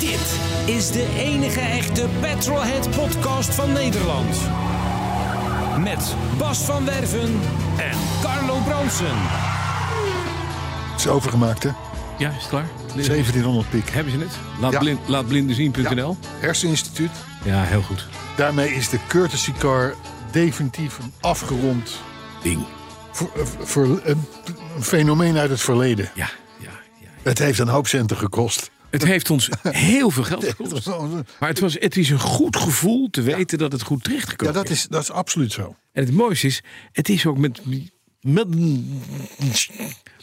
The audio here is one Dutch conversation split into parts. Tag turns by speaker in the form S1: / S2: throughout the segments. S1: Dit is de enige echte Petrolhead podcast van Nederland. Met Bas van Werven en Carlo Bronsen.
S2: Het is overgemaakt, hè?
S3: Ja, is het klaar?
S2: 1700 piek.
S3: Hebben ze het? Laat,
S2: Ja.
S3: blind, laat blinden zien.nl.
S2: Herseninstituut.
S3: Ja. heel goed.
S2: Daarmee is de courtesy car definitief een afgerond
S3: Ding.
S2: voor, eh, voor een, een fenomeen uit het verleden.
S3: Ja, ja, ja.
S2: Het heeft een hoop centen gekost.
S3: Het heeft ons heel veel geld gekost.
S2: Ja,
S3: Maar het, was, het is een goed gevoel te weten dat het goed terecht gekomen
S2: dat is, dat is absoluut zo.
S3: En het mooiste is, het is ook met, met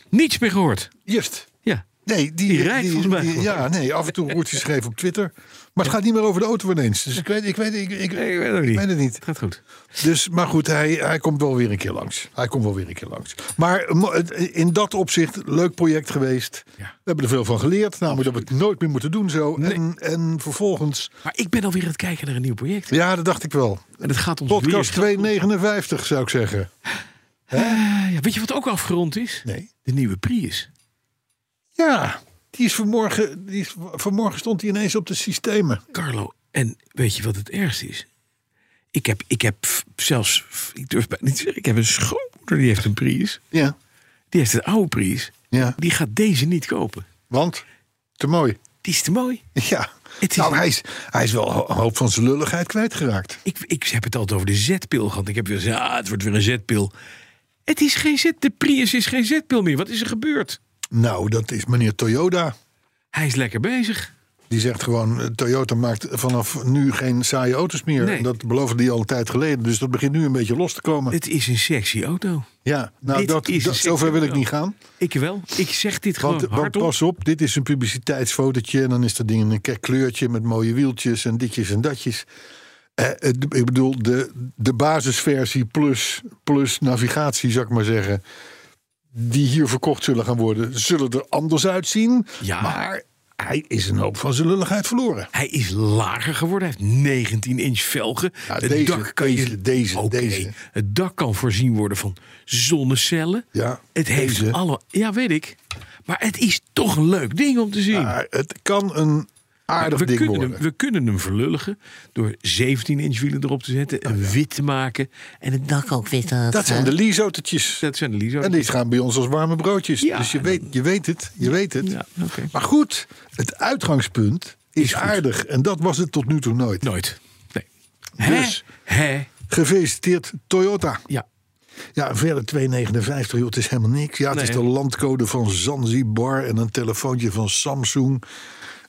S3: niets meer gehoord.
S2: Juist.
S3: Ja.
S2: Nee, die,
S3: Die rijdt volgens mij gewoon.
S2: ja, nee, af en toe wordt hij geschreven op Twitter. Maar het gaat niet meer over de auto ineens. Dus ik weet, ik weet, ik, ik,
S3: Nee, ik weet het ook niet.
S2: ik weet het niet.
S3: Het gaat goed.
S2: Dus, maar goed, hij, hij komt wel weer een keer langs. Hij komt wel weer een keer langs. Maar mo- het- in dat opzicht, leuk project geweest.
S3: Ja.
S2: We hebben er veel van geleerd. Namelijk dat we het nooit meer moeten doen zo. En, en vervolgens,
S3: Maar ik ben alweer aan het kijken naar een nieuw project.
S2: ja, dat dacht ik wel.
S3: En het gaat ons
S2: Podcast
S3: weer...
S2: 259 zou ik zeggen.
S3: Ah, ja, weet je wat ook afgerond is?
S2: Nee.
S3: De nieuwe Prius.
S2: Ja, die is vanmorgen, die is, vanmorgen stond hij ineens op de systemen.
S3: Carlo, en weet je wat het ergste is? Ik heb, ik heb f- zelfs, f- ik durf bijna niet te zeggen, ik heb een schoonmoeder die heeft een Prius.
S2: Ja,
S3: Die heeft een oude Prius.
S2: ja.
S3: Die gaat deze niet kopen.
S2: want te mooi.
S3: Die is te mooi.
S2: Ja,
S3: Het is-
S2: nou, hij, is, hij is wel een hoop van zijn lulligheid kwijtgeraakt.
S3: Ik, ik heb het altijd over de zetpil gehad. Ik heb weer gezegd, ah, het wordt weer een zetpil. Het is geen zet, de Prius is geen zetpil meer. Wat is er gebeurd?
S2: Nou, dat is meneer Toyoda.
S3: Hij is lekker bezig.
S2: Die zegt gewoon, eh, Toyota maakt vanaf nu geen saaie auto's meer.
S3: Nee.
S2: Dat beloofde die al een tijd geleden. Dus dat begint nu een beetje los te komen.
S3: Het is een sexy auto.
S2: ja, nou,
S3: dit
S2: dat,
S3: is
S2: dat,
S3: een
S2: zover wil ik
S3: sector-
S2: niet gaan.
S3: Ik wel. Ik zeg dit
S2: Want,
S3: gewoon
S2: want
S3: hardop.
S2: pas op, dit is een publiciteitsfotootje. En dan is dat ding in een kek kleurtje met mooie wieltjes en ditjes en datjes. Eh, het- ik bedoel, de, de basisversie plus, plus navigatie, zou ik maar zeggen... die hier verkocht zullen gaan worden, zullen er anders uitzien.
S3: Ja.
S2: Maar hij is een hoop van zijn lulligheid verloren.
S3: Hij is lager geworden. Hij heeft 19 inch velgen.
S2: Ja, deze, deze, deze,
S3: Oké,
S2: deze.
S3: Het dak kan voorzien worden van zonnecellen.
S2: Ja,
S3: het heeft
S2: deze.
S3: alle. Ja, weet ik. Maar het is toch een leuk ding om te zien.
S2: Maar het kan een aardig
S3: we,
S2: ding
S3: kunnen hem,
S2: worden.
S3: we kunnen hem verlulligen door 17 inch wielen erop te zetten,
S2: Oh,
S3: en wit te maken en het dak ook wit aan.
S2: dat zijn de leaseautootjes.
S3: Dat zijn de Lizo.
S2: En die gaan bij ons als warme broodjes.
S3: Ja,
S2: dus je
S3: en
S2: weet, je weet het. Je weet het.
S3: Ja, oké.
S2: Maar goed, het uitgangspunt is,
S3: Is goed.
S2: aardig. En dat was het tot nu toe nooit.
S3: Nooit. Nee.
S2: Dus-
S3: Hè? Hè?
S2: Gefeliciteerd Toyota.
S3: Ja.
S2: Ja, verder 259, joh, het is helemaal niks. Ja, het
S3: Nee.
S2: is de landcode van Zanzibar en een telefoontje van Samsung.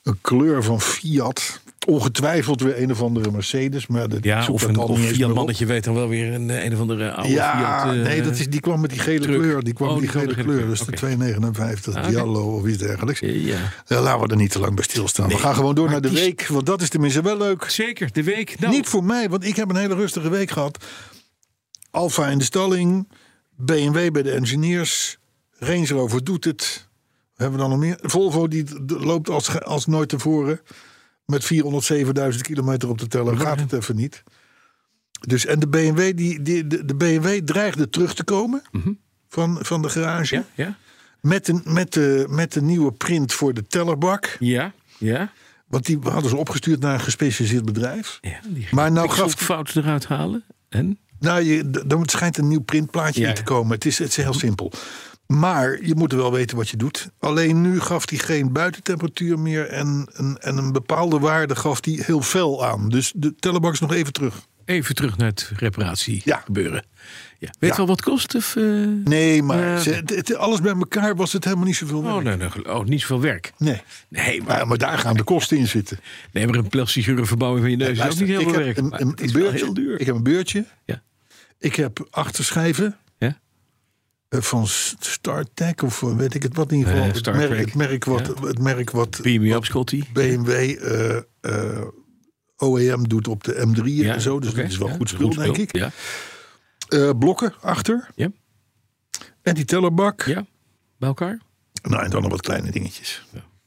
S2: Een kleur van Fiat. Ongetwijfeld weer een of andere Mercedes. Maar dat
S3: Ja,
S2: zoek
S3: of
S2: dat
S3: een
S2: al niet
S3: of
S2: eens meer
S3: Fiat
S2: op.
S3: mannetje weet dan wel weer een, eh, een of andere oude
S2: Ja,
S3: Fiat. eh,
S2: nee, dat is, die kwam met die gele
S3: truck.
S2: kleur. Die kwam
S3: Oh,
S2: met die
S3: die kwam
S2: gele
S3: met de
S2: kleur.
S3: gele
S2: Dus de
S3: kleur.
S2: 259
S3: Ah, oké.
S2: Diallo of iets dergelijks.
S3: Ja.
S2: Ja, laten we er niet te lang bij stilstaan. we
S3: Nee,
S2: gaan gewoon door
S3: maar
S2: naar de
S3: die-
S2: week. Want dat is tenminste wel leuk.
S3: Zeker, de week. Nou,
S2: Niet voor mij, want ik heb een hele rustige week gehad. Alfa in de stalling. BMW bij de engineers. Range Rover doet het. We hebben dan nog meer. Volvo die d- d- loopt als, ge- als nooit tevoren. Met 407.000 kilometer op de teller gaat het even niet. Dus, en de BMW, die, die, de, de BMW dreigde terug te komen van, van de garage.
S3: Mhm. Ja, ja,
S2: Met, een, met, de, met de nieuwe print voor de tellerbak.
S3: ja, ja.
S2: Want die hadden ze opgestuurd naar een gespecialiseerd bedrijf.
S3: ja die
S2: Maar nou gaf-
S3: gaf fout eruit halen. En?
S2: Nou, je, d- dan schijnt een nieuw printplaatje
S3: Ja.
S2: in te komen. Het is, het is heel simpel. Maar je moet wel weten wat je doet. Alleen nu gaf hij geen buitentemperatuur meer. En, en, en een bepaalde waarde gaf hij heel fel aan. Dus de telebak is nog even terug.
S3: Even terug naar het reparatie
S2: Ja.
S3: gebeuren. Ja. Weet je al wat het kost? Of, eh?
S2: Nee, maar
S3: Ja.
S2: ze- het- het- alles bij elkaar was het helemaal niet zoveel.
S3: Oh,
S2: werk.
S3: nee, nee, gel- oh, niet zoveel werk.
S2: Nee.
S3: Nee, maar,
S2: Maar, maar daar gaan de kosten in zitten.
S3: nee, maar een plasticure verbouwing van je neus is ook
S2: Luister,
S3: niet heel veel
S2: ik heb
S3: werk.
S2: een-
S3: maar
S2: een
S3: het is wel
S2: beurtje.
S3: heel duur.
S2: Ik heb een beurtje.
S3: Ja.
S2: Ik heb achterschijven.
S3: Ja?
S2: eh, van S- StarTech of eh, weet ik het wat in ieder
S3: Eh,
S2: geval.
S3: Star
S2: het, merk,
S3: Trek,
S2: het merk wat, het merk wat
S3: Beam me up, Scotty.
S2: BMW eh, eh, OEM doet op de M3
S3: Ja,
S2: en zo. Dus
S3: oké,
S2: dat is wel
S3: ja,
S2: goed spul, denk ik.
S3: Ja,
S2: Eh, blokken achter.
S3: Ja.
S2: En die tellerbak.
S3: ja, bij elkaar.
S2: Nou, en dan nog wat kleine dingetjes.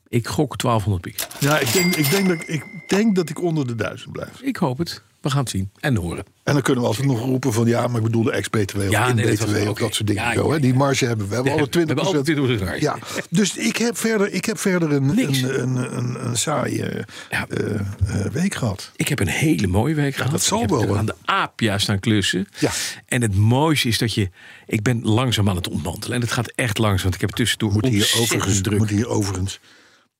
S3: Ik gok 1200 piek.
S2: Ja, ik denk, ik, denk dat, ik- ik denk dat ik onder de duizend blijf.
S3: Ik hoop het. We gaan het zien en horen.
S2: En dan kunnen we altijd nog roepen van ja, maar ik bedoel de ex-BTW of
S3: Ja,
S2: in
S3: nee, dat
S2: BTW
S3: was-
S2: of
S3: oké.
S2: dat soort dingen.
S3: Ja,
S2: zo,
S3: ja,
S2: hè.
S3: ja.
S2: Die marge hebben we. We hebben alle 20
S3: We hebben alle 20%
S2: Ja, dus ik heb verder, ik heb verder een,
S3: Niks.
S2: een, een, een, een saaie
S3: Ja.
S2: eh, eh, week gehad.
S3: Ik heb een hele mooie week gehad.
S2: dat zal
S3: ik heb
S2: wel,
S3: er
S2: hè?
S3: aan de aapja staan klussen.
S2: Ja.
S3: En het mooiste is dat je... Ik ben langzaam aan het ontmantelen. En het gaat echt langzaam. Want ik heb tussendoor
S2: Moet hier,
S3: ontzettend
S2: overigens,
S3: druk.
S2: moet hier overigens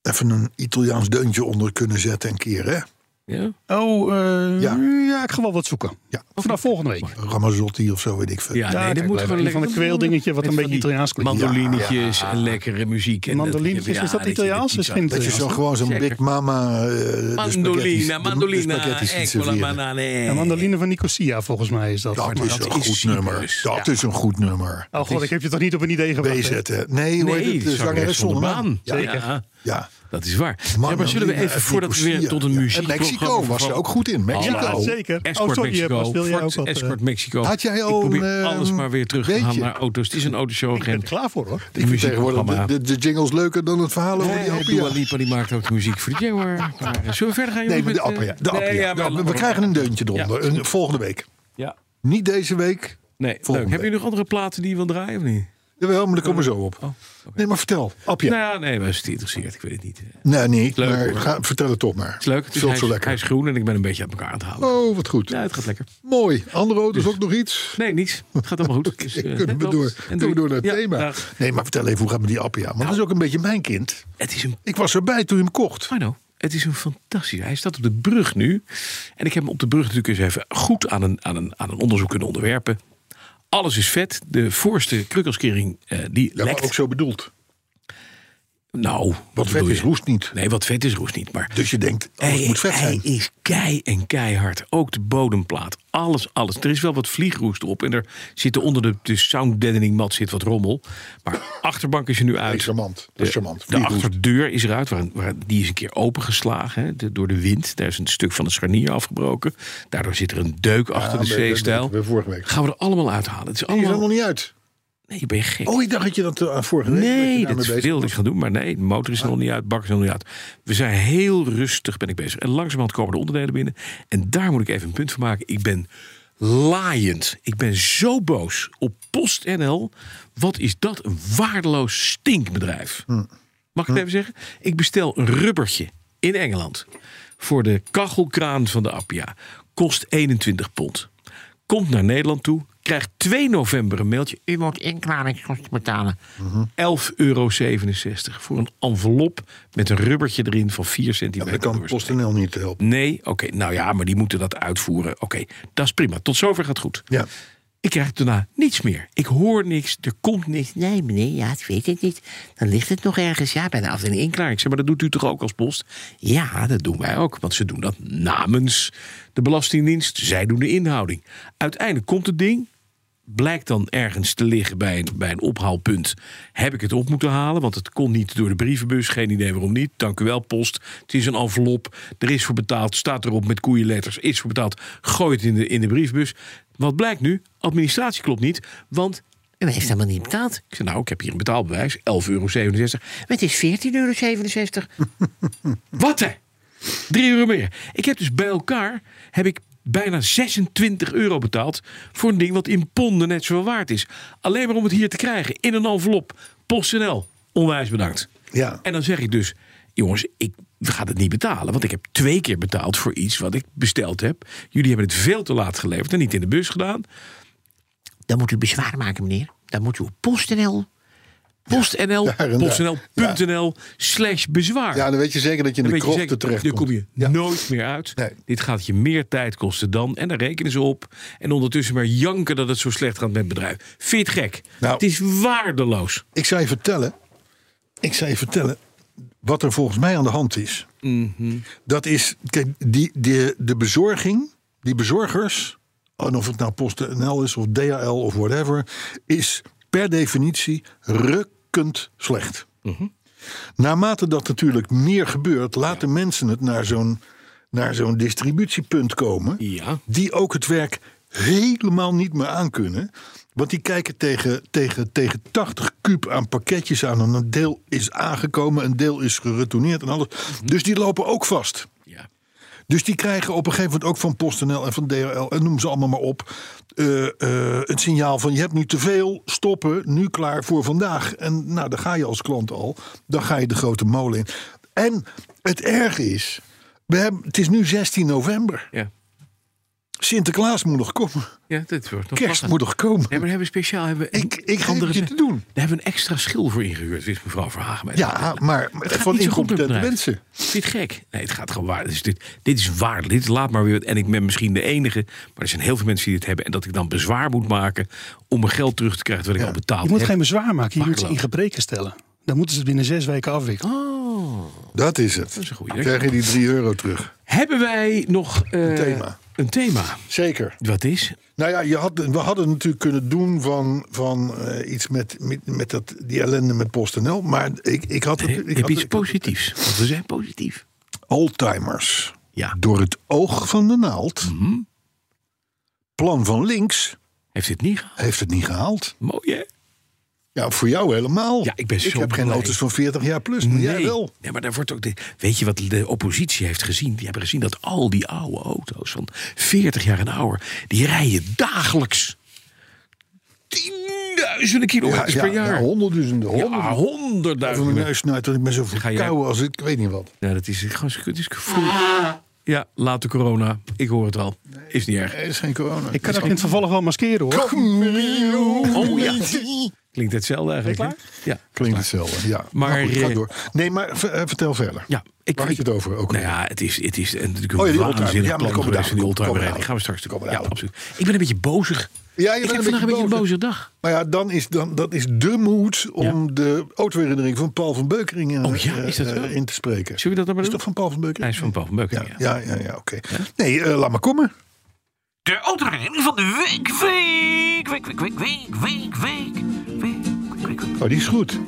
S2: even een Italiaans deuntje onder kunnen zetten een keer, hè?
S3: Ja?
S4: Oh, eh,
S2: Ja.
S4: ja. ik ga wel wat zoeken.
S2: Ja.
S4: Vanaf nou volgende week.
S2: Ramazzotti of zo, weet ik veel.
S3: Ja,
S4: Ja,
S3: nee, dat
S4: kijk,
S3: moet
S4: we
S3: gewoon
S4: hebben van een kweeldingetje wat
S3: Met
S4: een
S3: van
S4: beetje
S3: die
S4: Italiaans klinkt.
S3: Mandolinetjes en lekkere muziek. En
S4: Mandolinetjes,
S3: ja,
S4: is dat
S3: je
S4: Italiaans?
S3: iets
S4: Is geen
S3: aan-
S2: Dat je zo gewoon zo'n
S3: Zeker.
S2: Big Mama... eh, de spaghetti's- de-
S3: Dus Mandolina,
S2: de
S3: mandolina,
S2: spaghetti's ziet
S3: eccola
S2: serveren.
S3: banane.
S4: En mandoline van Nicosia, volgens mij is dat.
S2: Dat
S4: Maar
S2: is
S3: dat
S2: een
S3: is
S2: goed
S3: Cyprus.
S2: nummer.
S3: Ja.
S2: Dat is een goed nummer.
S4: Oh god, ik heb je toch niet op een idee gebracht. hè?
S2: BZT. Nee, hoe heet
S3: Nee,
S2: het?
S3: de
S2: De
S3: zangeres zonder baan.
S2: Ja,
S4: Zeker.
S3: Ja,
S2: ja.
S3: dat is waar.
S2: Man,
S3: Ja, maar zullen we
S2: Manolina
S3: even,
S2: uit
S3: voordat we weer
S2: Nicosia.
S3: tot een
S2: Ja.
S3: muziek...
S2: En Mexico was er ook goed in. Mexico.
S4: Ja, zeker.
S3: Escort
S4: oh, sorry,
S3: Mexico.
S4: Bas, wil jij
S3: Ford
S4: ook wat, eh,
S3: Escort Mexico.
S2: Had jij al
S3: Ik probeer
S2: een, eh,
S3: alles maar weer terug te gaan
S2: weetje?
S3: naar auto's. Het is een
S4: Ik ben er
S3: autoshowagent.
S4: klaar voor hoor.
S2: Ik vind tegenwoordig de, de, de jingles leuker dan het verhaal over die
S3: Nee, Dua
S2: Appia.
S3: Lipa die maakt ook de muziek voor de Jaguar. Maar, eh, Zullen we verder gaan?
S2: Nee,
S3: jongens,
S2: maar de
S3: met, eh,
S2: Appia. De
S3: nee,
S2: Appia.
S3: ja, maar-
S2: Nou, we, we krijgen een deuntje eronder. Een, volgende week.
S3: Ja.
S2: Niet deze week.
S3: Nee, leuk.
S2: Volgende
S3: Hebben jullie
S2: week.
S3: nog andere platen die je wil draaien of niet?
S2: Jawel, maar daar komen we zo op. Nee, maar vertel. Appia.
S3: Nou ja, Oh, nee, wij zijn het geïnteresseerd. Ik weet het niet. Het
S2: nee, niet.
S3: leuk,
S2: maar
S3: hoor.
S2: ga, vertel het toch maar. Het
S3: is leuk. Het is,
S2: Vult
S3: hij,
S2: zo
S3: is-
S2: lekker.
S3: hij is groen en ik ben een beetje uit elkaar aan het halen.
S2: Oh, wat goed.
S3: Ja, Dus- het gaat lekker.
S2: Mooi. Andere auto's ook nog iets?
S3: Nee, niks. Het gaat allemaal goed. Dus, eh,
S2: Kunnen
S3: net
S2: we
S3: op.
S2: door,
S3: En
S2: kunnen
S3: doei.
S2: we door naar het
S3: Ja,
S2: thema?
S3: dag.
S2: Nee, maar vertel even hoe gaat het met die Appia? Want dat is ook een beetje mijn kind.
S3: Het is een
S2: Ik was erbij toen je hem kocht.
S3: I know. Het is een fantastisch. Hij staat op de brug nu. En ik heb hem op de brug natuurlijk eens even goed aan een, aan een, aan een onderzoek kunnen onderwerpen. Alles is vet. De voorste krukkelskering eh, die
S2: Ja, maar
S3: lekt.
S2: ook zo bedoeld.
S3: Nou, wat,
S2: Wat vet
S3: bedoel
S2: is,
S3: je?
S2: roest niet.
S3: Nee, wat vet is roest niet. Maar
S2: Dus je denkt, oh, het
S3: hij,
S2: moet vet
S3: hij
S2: zijn.
S3: is kei en keihard. Ook de bodemplaat. Alles, alles. Er is wel wat vliegroest op. En er zitten onder de, de sound deadening mat zit wat rommel. Maar achterbank is er nu
S2: Hij
S3: uit.
S2: is charmant. Dat is charmant.
S3: De
S2: Wie roest?
S3: achterdeur is eruit, waar, waar, die is een keer opengeslagen hè, de- door de wind. Daar is een stuk van het scharnier afgebroken. Daardoor zit er een deuk achter
S2: dat-
S3: de
S2: dat
S3: C-stijl.
S2: weten we vorige week.
S3: Gaan we er allemaal uithalen. Het is
S2: Die is
S3: allemaal...
S2: helemaal niet uit.
S3: Nee, ben je gek?
S2: Oh, ik dacht dat je dat eh, vorige week... dat
S3: nee,
S2: je daarmee
S3: dat
S2: bezig
S3: wilde ik gaan doen. Maar nee, de motor is er nog niet uit, de bak is er nog niet uit. We zijn heel rustig ben ik bezig. En langzamerhand komen de onderdelen binnen. En daar moet ik even een punt van maken. Ik ben laaiend. Ik ben zo boos op PostNL. Wat is dat een waardeloos stinkbedrijf. Mag ik
S2: Hm.
S3: het even zeggen? Ik bestel een rubbertje in Engeland voor de kachelkraan van de Appia. Kost 21 pond. Komt naar Nederland toe, krijgt 2 november een mailtje. U moet inklaringskosten betalen.
S2: Mhm.
S3: 11,67 euro voor een envelop met een rubbertje erin van 4
S2: Ja, maar
S3: centimeter.
S2: dat kan
S3: doorsnee.
S2: PostNL niet helpen.
S3: Nee, oké, nou ja, maar die moeten dat uitvoeren. Oké, dat is prima. Tot zover gaat goed.
S2: Ja.
S3: Ik krijg daarna niets meer. Ik hoor niks, er komt niks.
S5: Nee, meneer, ja, ik weet het niet. Dan ligt het nog ergens, ja, bij de
S3: Als een inklaring. Ik zeg, maar dat doet u toch ook als post? Ja, dat doen wij ook. Want ze doen dat namens de Belastingdienst. Zij doen de inhouding. Uiteindelijk komt het ding. Blijkt dan ergens te liggen bij een, bij een ophaalpunt. Heb ik het op moeten halen? Want het kon niet door de brievenbus. Geen idee waarom niet. Dank u wel, post. Het is een envelop. Er is voor betaald. Staat erop met koeienletters. Is voor betaald. Gooi het in de, in de brievenbus. Wat blijkt nu? Administratie klopt niet. Want
S5: U heeft helemaal niet betaald.
S3: ik zeg, nou, ik heb hier een betaalbewijs. 11,67 euro.
S5: Maar het is 14,67 euro.
S3: Wat hè? 3 euro meer. Ik heb dus bij elkaar heb ik bijna 26 euro betaald voor een ding wat in ponden net zoveel waard is. Alleen maar om het hier te krijgen in een envelop. PostNL, onwijs bedankt.
S2: Ja.
S3: En dan zeg ik dus, jongens, ik ga het niet betalen. Want ik heb twee keer betaald voor iets wat ik besteld heb. Jullie hebben het veel te laat geleverd en niet in de bus gedaan.
S5: Dan moet u bezwaar maken, meneer. Dan moet u op PostNL.
S3: PostNL,
S2: daar en daar.
S3: postnl.nl slash bezwaar.
S2: ja, dan weet je zeker dat je in
S3: Dan
S2: de
S3: weet je
S2: krochten
S3: zeker,
S2: terecht
S3: Daar kom je nooit meer uit.
S2: Nee.
S3: Dit gaat je meer tijd kosten dan. En daar rekenen ze op. En ondertussen maar janken dat het zo slecht gaat met het bedrijf. Vind je het gek?
S2: Nou.
S3: het is waardeloos.
S2: Ik zou je vertellen... Ik zou je vertellen wat er volgens mij aan de hand is. Dat is... Kijk, die, die, de bezorging, oh, die bezorgers... En of het nou PostNL is of DHL of whatever... is per definitie rukkend slecht. Naarmate dat natuurlijk meer gebeurt, laten mensen het naar zo'n, naar zo'n distributiepunt komen.
S6: Ja.
S2: Die ook het werk helemaal niet meer aankunnen. Want die kijken tegen, tegen, tegen 80 kuub aan pakketjes aan. En een deel is aangekomen, een deel is geretourneerd en alles. Dus die lopen ook vast.
S6: Ja.
S2: Dus die krijgen op een gegeven moment ook van PostNL en van DHL en noem ze allemaal maar op. eh, eh, het signaal van je hebt nu te veel, stoppen, nu klaar voor vandaag. En nou, daar ga je als klant al. Dan ga je de grote molen in. En het erg is, we hebben, het is nu 16 november.
S6: Ja.
S2: Sinterklaas moet nog komen.
S6: ja, dit wordt nog
S2: Kerst
S6: lastig.
S2: moet nog komen.
S6: Nee, maar daar hebben we speciaal hebben we
S2: Ik- ik geef
S6: andere
S2: het je
S6: ze-
S2: te doen.
S6: Daar hebben we een extra schil voor ingehuurd, wist mevrouw Verhagen. mij.
S2: Ja, maar
S6: Het gaat
S2: van
S6: niet zo goed met het
S2: incompetente
S6: bedrijf.
S2: mensen.
S6: Vind je het gek? Nee, het gaat gewoon waar. Dit is, dit, dit is waar. Dit is laat maar weer. En ik ben misschien de enige, maar er zijn heel veel mensen die dit hebben. En dat ik dan bezwaar moet maken om mijn geld terug te krijgen wat ik al betaald
S7: Je moet
S6: heb.
S7: geen bezwaar maken, je moet ze in
S6: Makkelijk.
S7: gebreken stellen. Dan moeten ze het binnen zes weken afwikkelen.
S2: Oh, Dat is het.
S6: is een goeie.
S2: Krijg je die 3 euro terug.
S6: Hebben wij nog eh,
S2: Een thema.
S6: een thema?
S2: Zeker.
S6: Wat is?
S2: Nou ja, je had, we hadden natuurlijk kunnen doen van, van eh, iets met, met, met dat, die ellende met PostNL. Maar ik, ik had, het-
S6: Nee,
S2: ik
S6: heb
S2: had
S6: iets
S2: ik had-
S6: positiefs. Want we zijn positief.
S2: Oldtimers.
S6: Ja. Mhm.
S2: Door het oog van de naald. Plan van links
S6: Heeft dit niet gehaald?
S2: heeft het niet gehaald.
S6: Mooi, hè?
S2: Ja, voor jou helemaal.
S6: Ja, ik ben zo
S2: heb geen
S6: blij.
S2: auto's van 40 jaar plus, maar jij wel.
S6: Nee, maar daar wordt ook de, weet je wat de oppositie heeft gezien? Die hebben gezien dat al die oude auto's van 40 jaar en ouder... die rijden dagelijks tienduizenden kilometers per jaar.
S2: honderdduizenden.
S6: Ja,
S2: honderdduizenden. Over
S6: honderdduizenden.
S2: mijn neus snuit, want ik ben zo
S6: ga jij-
S2: verkouden als ik, ik weet niet wat.
S6: Ja, dat is gewoon het is gevoel. Ja, late corona. Ik hoor het al. Is niet erg.
S2: Er is geen corona.
S7: Ik kan dat in het vervolg wel maskeren hoor.
S6: Oh ja. Klinkt hetzelfde eigenlijk.
S7: Ben je
S6: hè? Ja.
S2: Klinkt hetzelfde, ja.
S6: Maar,
S2: Nou goed, ga
S6: eh,
S2: door. Nee, maar ver- eh, vertel verder.
S6: Ja, ik,
S2: Waar had je het over ook
S6: Nou
S2: alweer?
S6: ja, het is, het is en natuurlijk een
S2: Oh ja, die oldtimer.
S6: waanzinnig
S2: Ja, maar daar
S6: plan
S2: komen we
S6: geweest van die
S2: dadelijk op.
S6: oldtimer.
S2: Komen we
S6: Die gaan we straks
S2: dadelijk
S6: komen.
S2: op.
S6: Ja,
S2: Komen we
S6: absoluut. Ik ben een beetje bozig.
S2: Ja, je
S6: ik
S2: bent een
S6: heb vandaag een beetje
S2: beetje
S6: een boze dag.
S2: Maar ja, dan is, dan, dat is de moed om de autoherinnering van Paul van Beukering eh,
S6: Oh ja, is dat
S2: eh,
S6: zo?
S2: in te spreken.
S6: Zullen we dat dan maar
S2: Is
S6: doen?
S2: dat van Paul van
S6: Hij
S2: Beukering?
S6: is van Paul van Beuken,
S2: Ja,
S6: ja.
S2: ja, ja, ja oké. Nee, eh, laat maar komen.
S8: De autoherinnering van de week, week, week, week, week, week, week, week, week, week, week, week.
S2: Oh, die is goed.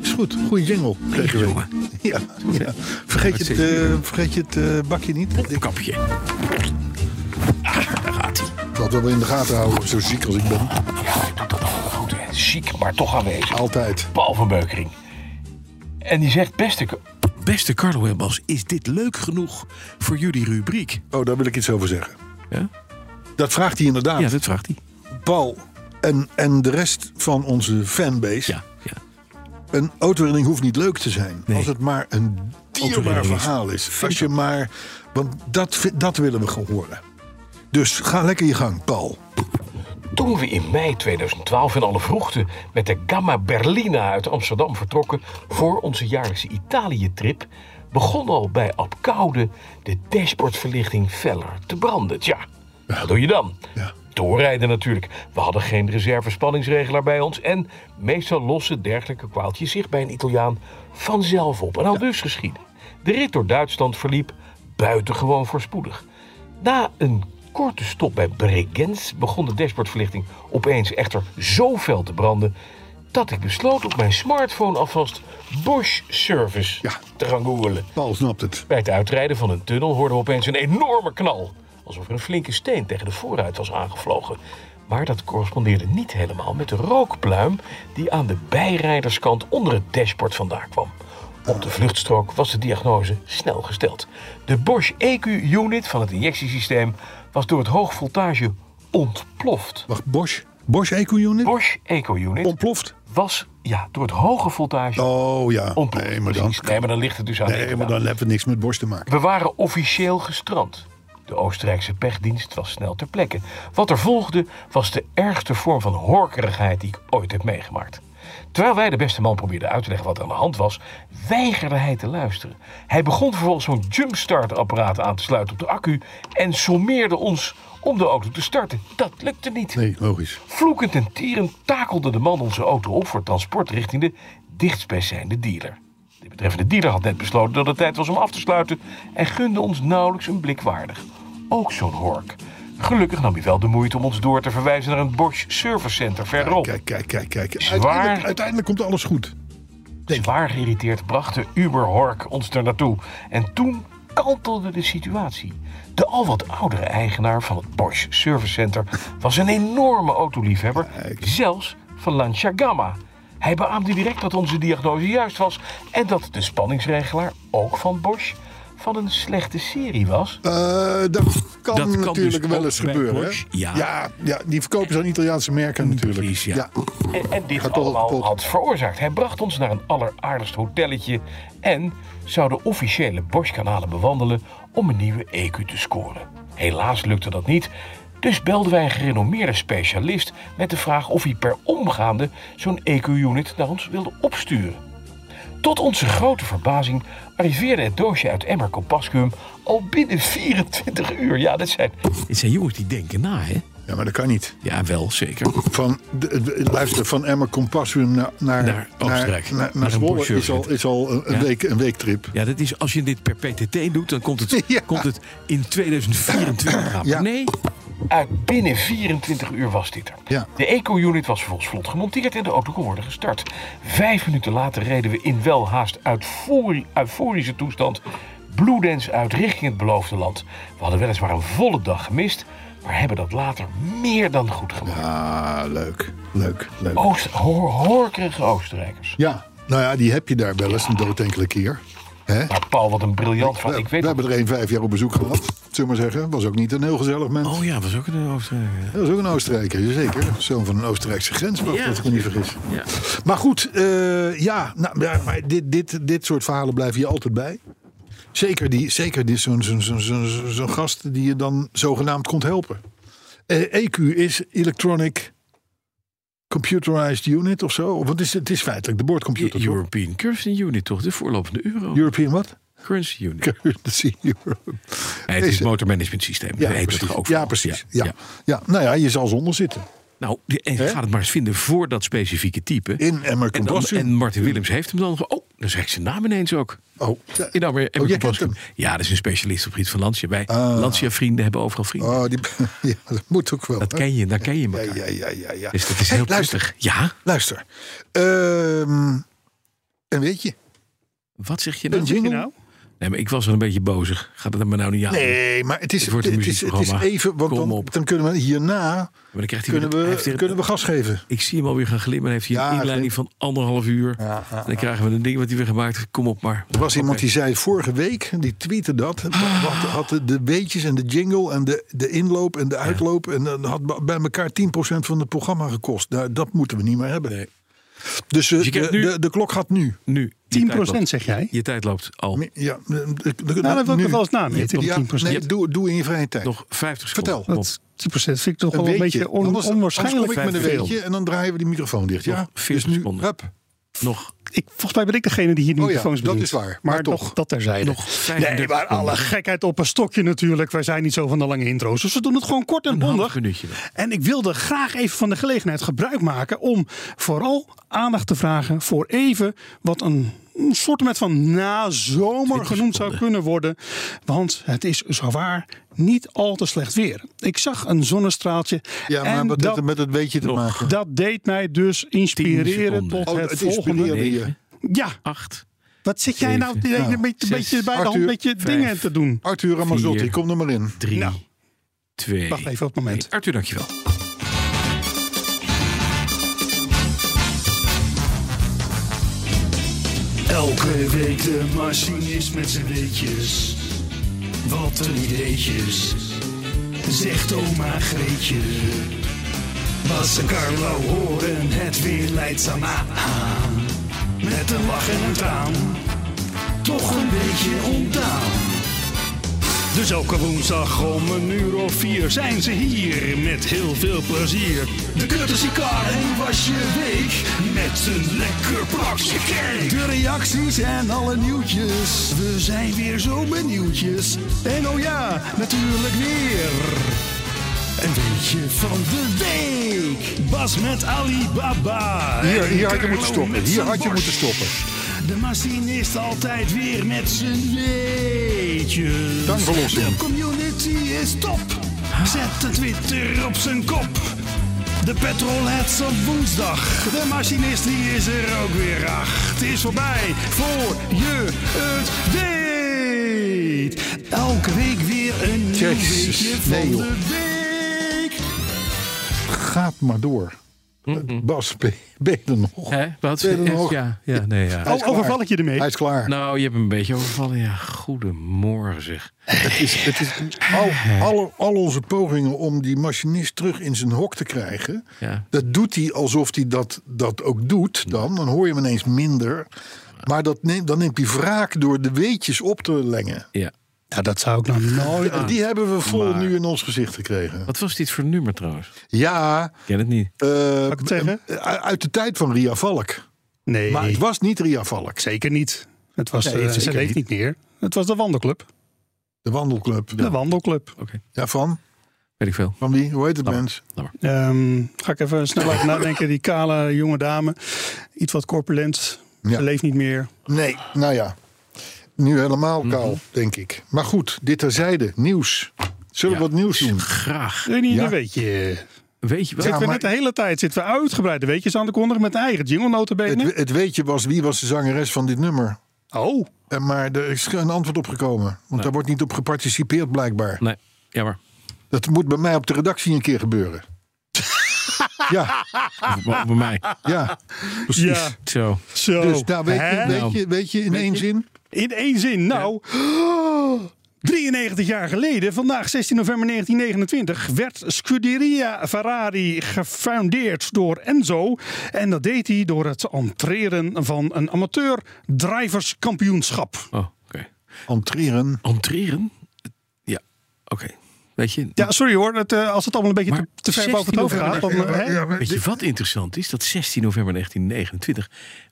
S2: Is goed. Goeie jingle. Deze week.
S6: jongen.
S2: Ja, ja. Vergeet, je het, eh, vergeet je het eh, bakje niet.
S6: Een kapje. Ah, daar gaat hij.
S2: Ik zal het wel in de gaten houden, zo ziek als ik ben.
S6: Hij doet dat allemaal goed, hè. Ziek, maar toch aanwezig.
S2: Altijd.
S6: Paul van Beukering. En die zegt, beste... Beste Carlo en Bas, is dit leuk genoeg voor jullie rubriek?
S2: Oh, daar wil ik iets over zeggen.
S6: Ja?
S2: Dat vraagt hij inderdaad.
S6: Ja, dat vraagt hij.
S2: Paul en, en de rest van onze fanbase.
S6: Ja, ja.
S2: Een autoherinnering hoeft niet leuk te zijn.
S6: Nee.
S2: Als het maar een dierbaar
S6: Autoherinnering is
S2: verhaal is. Als je maar, want dat, vi- dat willen we gewoon horen. Dus ga lekker je gang, Paul.
S3: Toen we in mei 2012 in alle vroegte met de Gamma Berlina uit Amsterdam vertrokken voor onze jaarlijkse Italië-trip, begon al bij Apkoude de dashboardverlichting feller te branden. Tja, wat doe je dan?
S2: Ja.
S3: Doorrijden natuurlijk. We hadden geen reservespanningsregelaar bij ons en meestal lossen dergelijke kwaaltjes zich bij een Italiaan vanzelf op. En al dus geschieden. De rit door Duitsland verliep buitengewoon voorspoedig. Na een korte stop bij Bregenz begon de dashboardverlichting opeens echter zo fel te branden dat ik besloot op mijn smartphone alvast Bosch Service
S2: Ja.
S3: te gaan googelen.
S2: Paul snapt het.
S3: Bij het uitrijden van een tunnel hoorden we opeens een enorme knal. Alsof er een flinke steen tegen de voorruit was aangevlogen. Maar dat correspondeerde niet helemaal met de rookpluim die aan de bijrijderskant onder het dashboard vandaan kwam. Op de vluchtstrook was de diagnose snel gesteld. De Bosch EQ-unit van het injectiesysteem was door het hoog voltage ontploft.
S2: Wacht, Bosch. Bosch Eco-unit?
S3: Bosch EQ-unit
S2: Ontploft?
S3: was ja, door het hoge voltage
S2: Oh ja.
S3: ontploft.
S2: Nee, maar dan,
S3: Precies. Nee, maar dan ligt het dus aan de
S2: nee, maar dan hebben we niks met Bosch te maken.
S3: We waren officieel gestrand. De Oostenrijkse pechdienst was snel ter plekke. Wat er volgde was de ergste vorm van horkerigheid die ik ooit heb meegemaakt. Terwijl wij de beste man probeerden uit te leggen wat er aan de hand was, weigerde hij te luisteren. Hij begon vervolgens zo'n jumpstart-apparaat aan te sluiten op de accu en sommeerde ons om de auto te starten. Dat lukte niet.
S2: Nee, logisch.
S3: Vloekend en tierend takelde de man onze auto op voor transport richting de dichtstbijzijnde dealer. De betreffende dealer had net besloten dat het tijd was om af te sluiten en gunde ons nauwelijks een blik waardig. Ook zo'n hork. Gelukkig nam hij wel de moeite om ons door te verwijzen naar een Bosch Service Center verderop.
S2: Kijk, kijk, kijk, kijk.
S3: Zwaar.
S2: Uiteindelijk, uiteindelijk komt alles goed.
S3: Zwaar geïrriteerd brachten Uber Hork ons er naartoe. En toen kantelde de situatie. De al wat oudere eigenaar van het Bosch Service Center was een enorme autoliefhebber, zelfs van Lancia Gamma. Hij beaamde direct dat onze diagnose juist was en dat de spanningsregelaar, ook van Bosch, van een slechte serie was.
S2: Eh, dat kan
S6: Dat kan
S2: natuurlijk
S6: dus
S2: wel
S6: ook
S2: eens
S6: bij
S2: gebeuren.
S6: Bosch,
S2: hè?
S6: ja.
S2: Ja, ja, die verkopen zo'n Italiaanse merken natuurlijk.
S6: Precies, ja.
S3: En, en dit
S2: Gaat toch
S3: allemaal
S2: kapot.
S3: had veroorzaakt. Hij bracht ons naar een alleraardigst hotelletje en zou de officiële Bosch-kanalen bewandelen om een nieuwe EQ te scoren. Helaas lukte dat niet, dus belden wij een gerenommeerde specialist met de vraag of hij per omgaande zo'n EQ-unit naar ons wilde opsturen. Tot onze grote verbazing arriveerde het doosje uit Emmer Compascuum al binnen 24 uur. Ja, dat zijn
S6: Het zijn jongens die denken na, hè?
S2: Ja, maar dat kan niet.
S6: Ja, wel, zeker.
S2: Van, de, de- luister, van Emmer Compassum naar, naar,
S6: Naar Oostenrijk.
S2: Naar, naar,
S6: Naar een
S2: Zwolle
S6: Bosch
S2: is al,
S6: Service.
S2: is al een,
S6: Ja.
S2: een week, een weektrip.
S6: Ja, dat is, als je dit per PTT doet, dan komt het,
S2: Ja.
S6: komt het in 2024 aan.
S2: Ja.
S6: Nee,
S3: Uit binnen 24 uur was dit er.
S2: Ja.
S3: De Eco-unit was vervolgens vlot gemonteerd en de auto kon worden gestart. Vijf minuten later reden we in wel haast uitvoeri- euforische toestand Blue Dance uit richting het beloofde land. We hadden weliswaar een volle dag gemist, maar hebben dat later meer dan goed gemaakt.
S2: Ah, leuk. Leuk, leuk.
S6: Oh.
S3: Oost, hoor, horkerige Oostenrijkers.
S2: Ja, nou ja, die heb je daar wel eens een dood enkele keer. Hè?
S3: Maar Paul, wat een briljant van.
S2: we,
S3: Ik weet
S2: we
S3: nog-
S2: hebben er een vijf jaar op bezoek gehad, zullen we maar zeggen. Was ook niet een heel gezellig mens.
S6: oh ja, was ook een Oostenrijker.
S2: Dat is ook een Oostenrijker, zeker. Zoon van een Oostenrijkse grenswacht,
S6: Ja.
S2: als ik me niet vergis.
S6: Ja.
S2: Maar goed, eh, ja, nou, ja, maar dit, dit, dit soort verhalen blijven je altijd bij. Zeker, die- zeker die- zo'n zo'n zo'n zo'n- zo'n gast die je dan zogenaamd komt helpen. Eh, EQ is Electronic Computerized Unit of zo. Want het is, het is feitelijk de boordcomputer. toch?
S6: European Currency Unit, toch? De voorlopende euro.
S2: European wat?
S6: Currency Unit.
S2: Currency Europe.
S6: Nee, het is
S2: Deze-
S6: het motormanagement systeem.
S2: Ja,
S6: heet
S2: precies.
S6: Dat ook
S2: ja,
S6: wel.
S2: precies. Ja, ja. nou ja, je zal zonder zitten.
S6: Nou, die- en
S2: Hè?
S6: gaat het maar eens vinden voor dat specifieke type.
S2: In Emmer
S6: en, dan,
S2: Combustion.
S6: en Martin Willems heeft hem dan. ge- Oh, dan zeg ik zijn naam ineens ook.
S2: Oh, ja.
S6: In Ammer,
S2: Oh, jij kent hem. Ah.
S6: Ja, dat is een specialist op het gebied van Lancia. Wij Lancia-vrienden hebben overal vrienden.
S2: Oh, die, ja, dat moet ook wel.
S6: dat
S2: hè?
S6: ken je, daar ken je
S2: Ja,
S6: elkaar.
S2: ja, ja, ja. ja.
S6: Dus dat is heel
S2: Hey, luister,
S6: prettig. Ja,
S2: Luister. Ehm, en weet je?
S6: wat zeg je
S2: Een
S6: nou?
S2: jingle?
S6: Nee, maar ik was er een beetje bozig. Gaat het er maar nou niet aan?
S2: Nee, maar het is, het,
S6: Het wordt een
S2: is, het is
S6: muziekprogramma.
S2: even... Want
S6: Kom
S2: dan,
S6: op.
S2: dan kunnen we hierna
S6: Maar dan krijgt hij
S2: kunnen
S6: weer- hij
S2: we,
S6: heeft weer-
S2: kunnen we gas geven.
S6: Ik zie hem alweer gaan glimmen. Hij heeft hier
S2: Ja,
S6: een inleiding van anderhalf uur. en dan krijgen we een ding wat hij weer gemaakt heeft. Kom op maar.
S2: Er was iemand die zei vorige week, die tweette dat... Had,
S4: Ah.
S2: had de- de weetjes en de jingle en de, de inloop en de uitloop... en dat had b- bij elkaar 10% van het programma gekost. Nou, dat moeten we niet meer hebben.
S6: Nee.
S2: Dus, eh,
S6: Dus je krijgt
S2: de,
S6: nu-
S2: de, de klok gaat nu.
S6: Nu. je
S4: 10
S6: tijd loopt.
S4: zeg jij?
S6: Je tijd loopt al.
S2: Ja, eh, de, de, de-
S4: Nou, dat wil ik
S2: nu.
S4: nog wel eens nameten, die
S2: Ja,
S4: 10
S2: nee, doe, doe in je vrije tijd.
S6: Nog 50 seconden.
S2: Vertel.
S6: Kom op.
S4: Dat 10 vind ik toch wel een
S2: weetje.
S4: beetje on-
S2: Anders-
S4: onwaarschijnlijk.
S2: Anders kom ik met een
S4: veel.
S2: weetje en dan draaien we die microfoon dicht. Ja,
S6: Nog 40
S2: dus nu,
S6: seconden.
S2: hup.
S6: Nog
S4: Ik, volgens mij ben ik degene die hier de
S2: Oh ja,
S4: microfoons
S2: dat
S4: bedient.
S2: is waar.
S4: Maar,
S2: Maar toch.
S4: toch, dat terzijde.
S6: Nog 35
S4: nee, maar alle
S6: seconden.
S4: gekheid op een stokje natuurlijk. Wij zijn niet zo van de lange intro's. Dus we doen het gewoon kort en
S6: een half
S4: bondig.
S6: minuutje.
S4: En ik wilde graag even van de gelegenheid gebruik maken om vooral aandacht te vragen voor even wat een een soort met van nazomer genoemd zou kunnen worden. Want het is zowaar niet al te slecht weer. Ik zag een zonnestraaltje.
S2: Ja, maar
S4: en
S2: wat heeft
S4: dat,
S2: het met het weetje te
S6: Nog.
S2: maken?
S4: dat deed mij dus inspireren
S6: seconden.
S4: tot
S2: Oh,
S4: het,
S2: het
S4: volgende.
S2: inspireerde je.
S4: Ja,
S6: 8.
S4: wat zit jij nou
S6: Zeven,
S4: een
S2: nou,
S4: beetje,
S6: zes,
S4: beetje bij de hand,
S2: Arthur,
S4: een beetje
S6: vijf.
S4: dingen te doen?
S2: Arthur Ramazzotti,
S6: Vier.
S2: kom er maar in.
S6: 3.
S4: Nou.
S6: 2.
S4: Wacht even op het moment.
S6: Arthur, dankjewel.
S4: Elke week de machinist met zijn weetjes. Wat een ideetjes. Zegt oma Greetje. Bas en Carlo horen het weer leidzaam aan. Met een lach en een traan. Toch een beetje ontdaan. Dus elke woensdag om een uur of vier zijn ze hier met heel veel plezier. De courtesy car en was je week met een lekker plakje cake. De reacties en alle nieuwtjes, we zijn weer zo benieuwdjes. En oh ja, natuurlijk weer. Een beetje van de week. Bas met Alibaba.
S2: Hier-
S4: En
S2: hier had je
S4: Carlo
S2: moeten stoppen.
S4: met
S2: Hier
S4: zijn
S2: had je
S4: Bosch.
S2: moeten stoppen.
S4: De machinist altijd weer met zijn weetjes.
S2: Dankverlossing.
S4: De community is top.
S7: Zet de Twitter op zijn kop. De petrolheads op woensdag. De machinist die is er ook weer. Ach, het is voorbij voor je het weet. Elke week weer een nieuw
S2: Jezus,
S7: weekje van
S2: nee, joh.
S7: de week.
S2: Gaat maar door. Bas, ben ben je er nog?
S6: Hè? Wat?
S2: Ben je er
S6: Echt?
S2: nog?
S6: Ja, ja, nee, ja.
S2: Hij is
S4: Oh, overval
S2: klaar.
S4: ik je ermee?
S2: Hij is klaar.
S6: Nou, je hebt hem een beetje overvallen. Ja, goedemorgen zeg.
S2: Het is, het is, al, alle- al onze pogingen om die machinist terug in zijn hok te krijgen.
S6: Ja.
S2: Dat doet hij alsof hij dat, dat ook doet dan. Dan hoor je hem ineens minder. Maar dat neemt, dan neemt hij wraak door de weetjes op te lengen.
S6: Ja.
S4: Ja, dat zou ik nou nooit...
S2: En die hebben we vol nu in ons gezicht gekregen.
S6: Wat was dit voor nummer trouwens?
S2: Ja,
S6: Ik ken het niet.
S2: eh,
S4: ik het zeggen?
S2: eh, uit de tijd van Ria Valk.
S4: Nee,
S2: Maar het was niet Ria Valk.
S4: zeker niet. Het was,
S2: Nee,
S4: eh,
S2: zeker
S4: ze leeft
S2: niet.
S4: niet meer. Het was de wandelclub.
S2: De wandelclub.
S4: De wandelclub.
S2: Ja, van?
S6: Weet ik veel.
S2: Van wie? Hoe heet het mens?
S4: Ehm, ga ik even snel over nadenken. Die kale jonge dame. Iets wat corpulent.
S2: Ja.
S4: Ze leeft niet meer.
S2: Nee, nou ja. Nu helemaal kaal, denk ik. Maar goed, dit terzijde. Nieuws. Zullen we wat nieuws doen?
S6: Graag.
S4: René,
S2: Ja.
S4: dat weet je.
S6: Weet je wat?
S4: Zitten we
S2: maar-
S4: net de hele tijd zitten we uitgebreid de weetjes aan te kondigen met een eigen jingle notabene.
S2: Het, het weetje was wie was de zangeres van dit nummer.
S4: Oh,
S2: En Maar er is geen antwoord op gekomen. Want daar wordt niet op geparticipeerd blijkbaar.
S6: Nee, jammer.
S2: Dat moet bij mij op de redactie een keer gebeuren. ja,
S6: Of Bij bij mij.
S2: ja, precies.
S4: ja.
S6: Zo.
S4: Zo.
S2: Dus nou, weet, je,
S4: Oh. Hè?
S2: weet, je, weet je in één zin?
S4: In één zin, nou. 93 jaar geleden, vandaag 16 november 1929, werd Scuderia Ferrari gefundeerd door Enzo. En dat deed hij door het entreren van een amateur drijverskampioenschap.
S6: Oh, oké.
S2: Entreren.
S6: Entreren? Ja, oké. Weet je,
S4: Ja, sorry hoor, dat, eh, als het allemaal een beetje
S6: Maar
S4: te, te ver boven het hoofd
S6: 16
S4: gaat. Dan, eh, hè?
S6: weet je wat interessant is? Dat 16 november 1929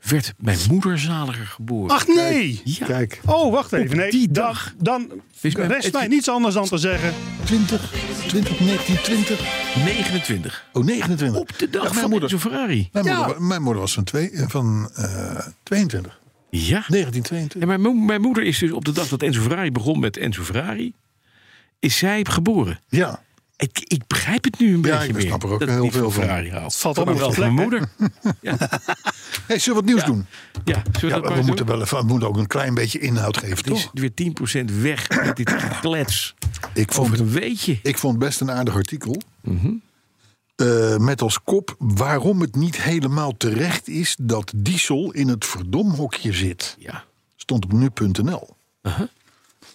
S6: werd mijn moeder zaliger geboren.
S4: Ach nee!
S6: ja.
S2: Kijk,
S4: Oh, wacht even. Nee,
S6: die
S4: dan-
S6: dag.
S4: Dan,
S6: Is mijn-
S4: rest mij niets anders dan te zeggen.
S2: 20, 20, 19, 20.
S6: 29.
S2: Oh, 29.
S6: Op de dag
S2: Ja, mijn
S6: van
S2: moeder.
S6: Enzo Ferrari.
S2: Mijn, moeder, wa- mijn moeder was van, twee, eh, van eh, 22.
S6: Ja. En
S2: 1922.
S6: mijn, mo- mijn moeder is dus op de dag dat Enzo Ferrari begon met Enzo Ferrari... is zij geboren.
S2: Ja.
S6: Ik, ik begrijp het nu een
S2: Ja,
S6: beetje
S2: ik
S6: meer.
S2: snap er ook
S6: Dat
S2: heel
S6: ik niet
S2: veel
S6: van
S2: van.
S6: Ferrari hou. Het
S4: valt allemaal
S6: wel
S4: op
S6: van mijn moeder. Ja,
S2: Hey, zullen we wat nieuws doen?
S6: ja, zullen we
S2: Ja,
S6: dat maar
S2: we,
S6: eens
S2: moeten
S6: doen?
S2: wel even, we moeten ook een klein beetje inhoud geven,
S6: Het is
S2: toch?
S6: weer 10% weg met dit geklets
S2: Ik vond,
S6: over een weetje.
S2: ik vond best een aardig artikel.
S6: Mhm.
S2: Eh, met als kop waarom het niet helemaal terecht is dat diesel in het verdomhokje zit.
S6: Ja.
S2: Stond op nu.nl.
S6: Uh-huh.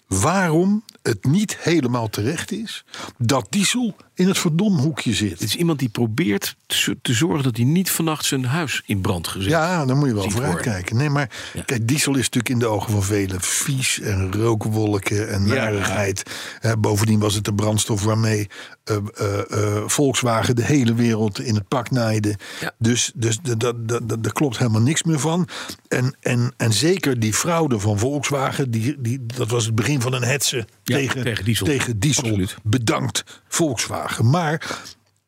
S2: Waarom het niet helemaal terecht is dat diesel in het verdomhoekje
S6: Het
S2: zit.
S6: is iemand die probeert te zo- te zorgen dat hij niet vannacht zijn huis in brand gezet.
S2: Ja, dan moet je wel
S6: Ziet
S2: vooruit
S6: worden.
S2: kijken. Nee, maar
S6: Ja.
S2: kijk, diesel is natuurlijk in de ogen van velen vies en rookwolken en narigheid. Eh, bovendien was het de brandstof waarmee eh, eh, eh, Volkswagen de hele wereld in het pak naaide.
S6: Ja.
S2: Dus, dus d- d- d- d- daar klopt helemaal niks meer van. En, en, en zeker die fraude van Volkswagen, die, die, dat was het begin van een hetze
S6: Ja,
S2: tegen,
S6: tegen diesel.
S2: tegen diesel.
S6: Absoluut.
S2: Bedankt Volkswagen. Maar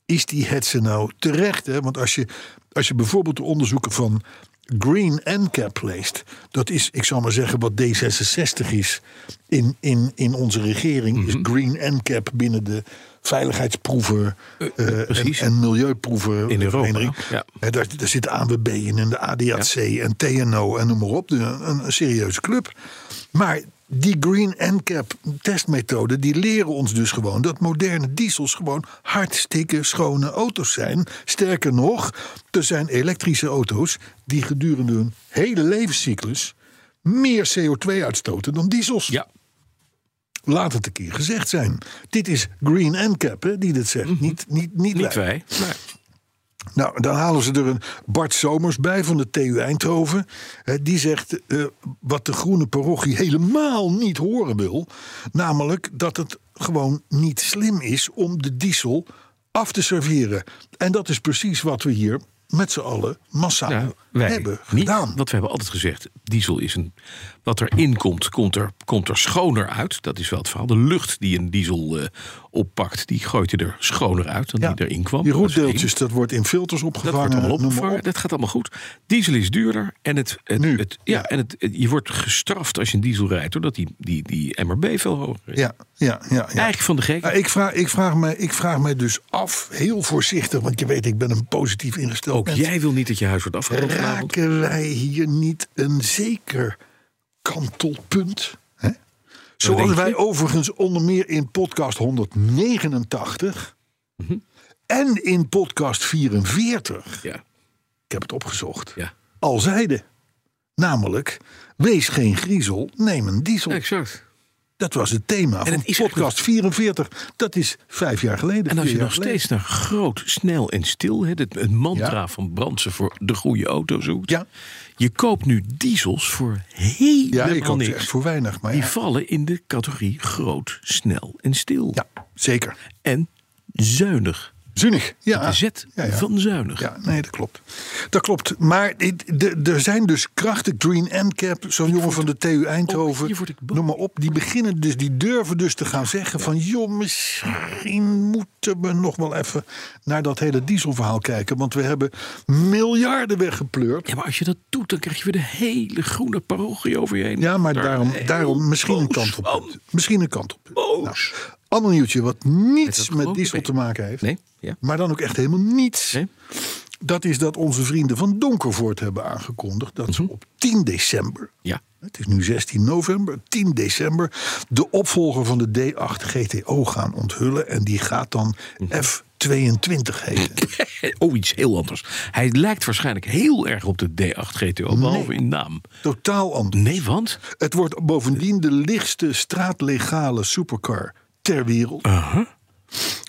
S2: is die hetze nou terecht? Hè? Want als je, als je bijvoorbeeld de onderzoeken van Green NCAP leest, dat is, ik zal maar zeggen, wat D66 is in, in, in onze regering,
S6: Mhm.
S2: is Green NCAP binnen de veiligheidsproeven eh, en,
S6: precies.
S2: en milieuproeven
S6: In Europa,
S2: vereniging.
S6: ja.
S2: Hè, daar, daar zit de ANWB in en de ADAC en TNO en noem maar op. Dus een, een, een serieuze club. Maar die Green NCAP testmethode, die leren ons dus gewoon... dat moderne diesels gewoon hartstikke schone auto's zijn. Sterker nog, er zijn elektrische auto's... die gedurende hun hele levenscyclus meer CO2 uitstoten dan diesels.
S6: Ja,
S2: Laat het een keer gezegd zijn. Dit is Green NCAP hè, die dit zegt, niet, niet, niet,
S6: Mhm. niet wij. Maar
S2: nou, dan halen ze er een Bart Somers bij van de TU Eindhoven. Hè, die zegt eh, wat de groene parochie helemaal niet horen wil. Namelijk dat het gewoon niet slim is om de diesel af te serveren. En dat is precies wat we hier met z'n allen massaal
S6: Ja, wij
S2: hebben
S6: niet,
S2: gedaan.
S6: Want we hebben altijd gezegd, diesel is een... Wat erin komt, komt er, komt er schoner uit. Dat is wel het verhaal. De lucht die een diesel eh, oppakt, die gooit je er schoner uit dan
S2: Ja.
S6: die erin kwam.
S2: Die
S6: Dat is één.
S2: roetdeeltjes, dat wordt in filters
S6: Dat
S2: opgevangen.
S6: wordt allemaal
S2: noem maar
S6: opgevangen.
S2: op.
S6: Dat gaat allemaal goed. Diesel is duurder. En, het, het,
S2: Nu,
S6: het- ja,
S2: ja.
S6: en het, het- je wordt gestraft als je een diesel rijdt. Doordat die, die, die MRB veel hoger is.
S2: Ja, ja, ja. ja.
S6: Eigenlijk van de gek.
S2: Nou, ik, vraag, ik, vraag me, ik vraag me dus af, heel voorzichtig, want je weet, ik ben een positief ingesteld
S6: Ook
S2: mens.
S6: jij wil niet dat je huis wordt afgerond vanavond.
S2: Raken wij hier niet een zeker kantelpunt? Hè? Zoals
S6: denk je?
S2: wij overigens onder meer in podcast 189
S6: Mhm.
S2: en in podcast 44,
S6: Ja,
S2: ik heb het opgezocht,
S6: ja.
S2: al zeiden. Namelijk, wees geen griezel, neem een diesel.
S6: exact.
S2: Dat was het thema
S6: het
S2: van
S6: is echt
S2: podcast 44. Dat is vijf jaar geleden.
S6: En als
S2: vier
S6: je
S2: jaar
S6: nog
S2: geleden.
S6: steeds naar groot, snel en stil, hè, dit, het mantra van Brandsen voor de goede auto zoekt.
S2: Ja.
S6: Je koopt nu diesels voor helemaal
S2: Ja, ik ook
S6: niks.
S2: echt voor weinig. Maar
S6: Die
S2: ja.
S6: vallen in de categorie groot, snel en stil.
S2: Ja, zeker.
S6: En zuinig.
S2: Zuinig. Ja.
S6: De zet
S2: Ja, ja.
S6: van zuinig.
S2: Ja, nee, dat klopt. Dat klopt. Maar dit- de- er zijn dus krachten, Green Endcap, zo'n jongen van de TU
S6: oh,
S2: Eindhoven,
S6: hier word ik bang.
S2: noem maar op. Die beginnen dus, die durven dus te gaan zeggen van... joh, misschien moeten we nog wel even naar dat hele dieselverhaal kijken. Want we hebben miljarden weggepleurd.
S6: Ja, maar als je dat doet, dan krijg je weer de hele groene parochie over je heen.
S2: Ja, maar daarom, daarom misschien een
S6: boos
S2: kant op.
S6: van.
S2: Misschien een kant op. Nou,
S6: Boos.
S2: Ander nieuwtje wat niets
S6: dat
S2: met
S6: geloof
S2: diesel
S6: ik.
S2: te maken heeft.
S6: Nee? Ja.
S2: Maar dan ook echt helemaal niets.
S6: Nee?
S2: Dat is dat onze vrienden van Donkervoort hebben aangekondigd dat ze op 10 december.
S6: Mhm. Ja.
S2: Het is nu 16 november, 10 december. De opvolger van de D8 GTO gaan onthullen. En die gaat dan
S6: Mhm.
S2: F22 heten.
S6: Oh, iets heel anders. Hij lijkt waarschijnlijk heel erg op de D8 GTO, behalve in naam.
S2: Totaal anders.
S6: Nee, want?
S2: Het wordt bovendien de lichtste straatlegale supercar ter wereld.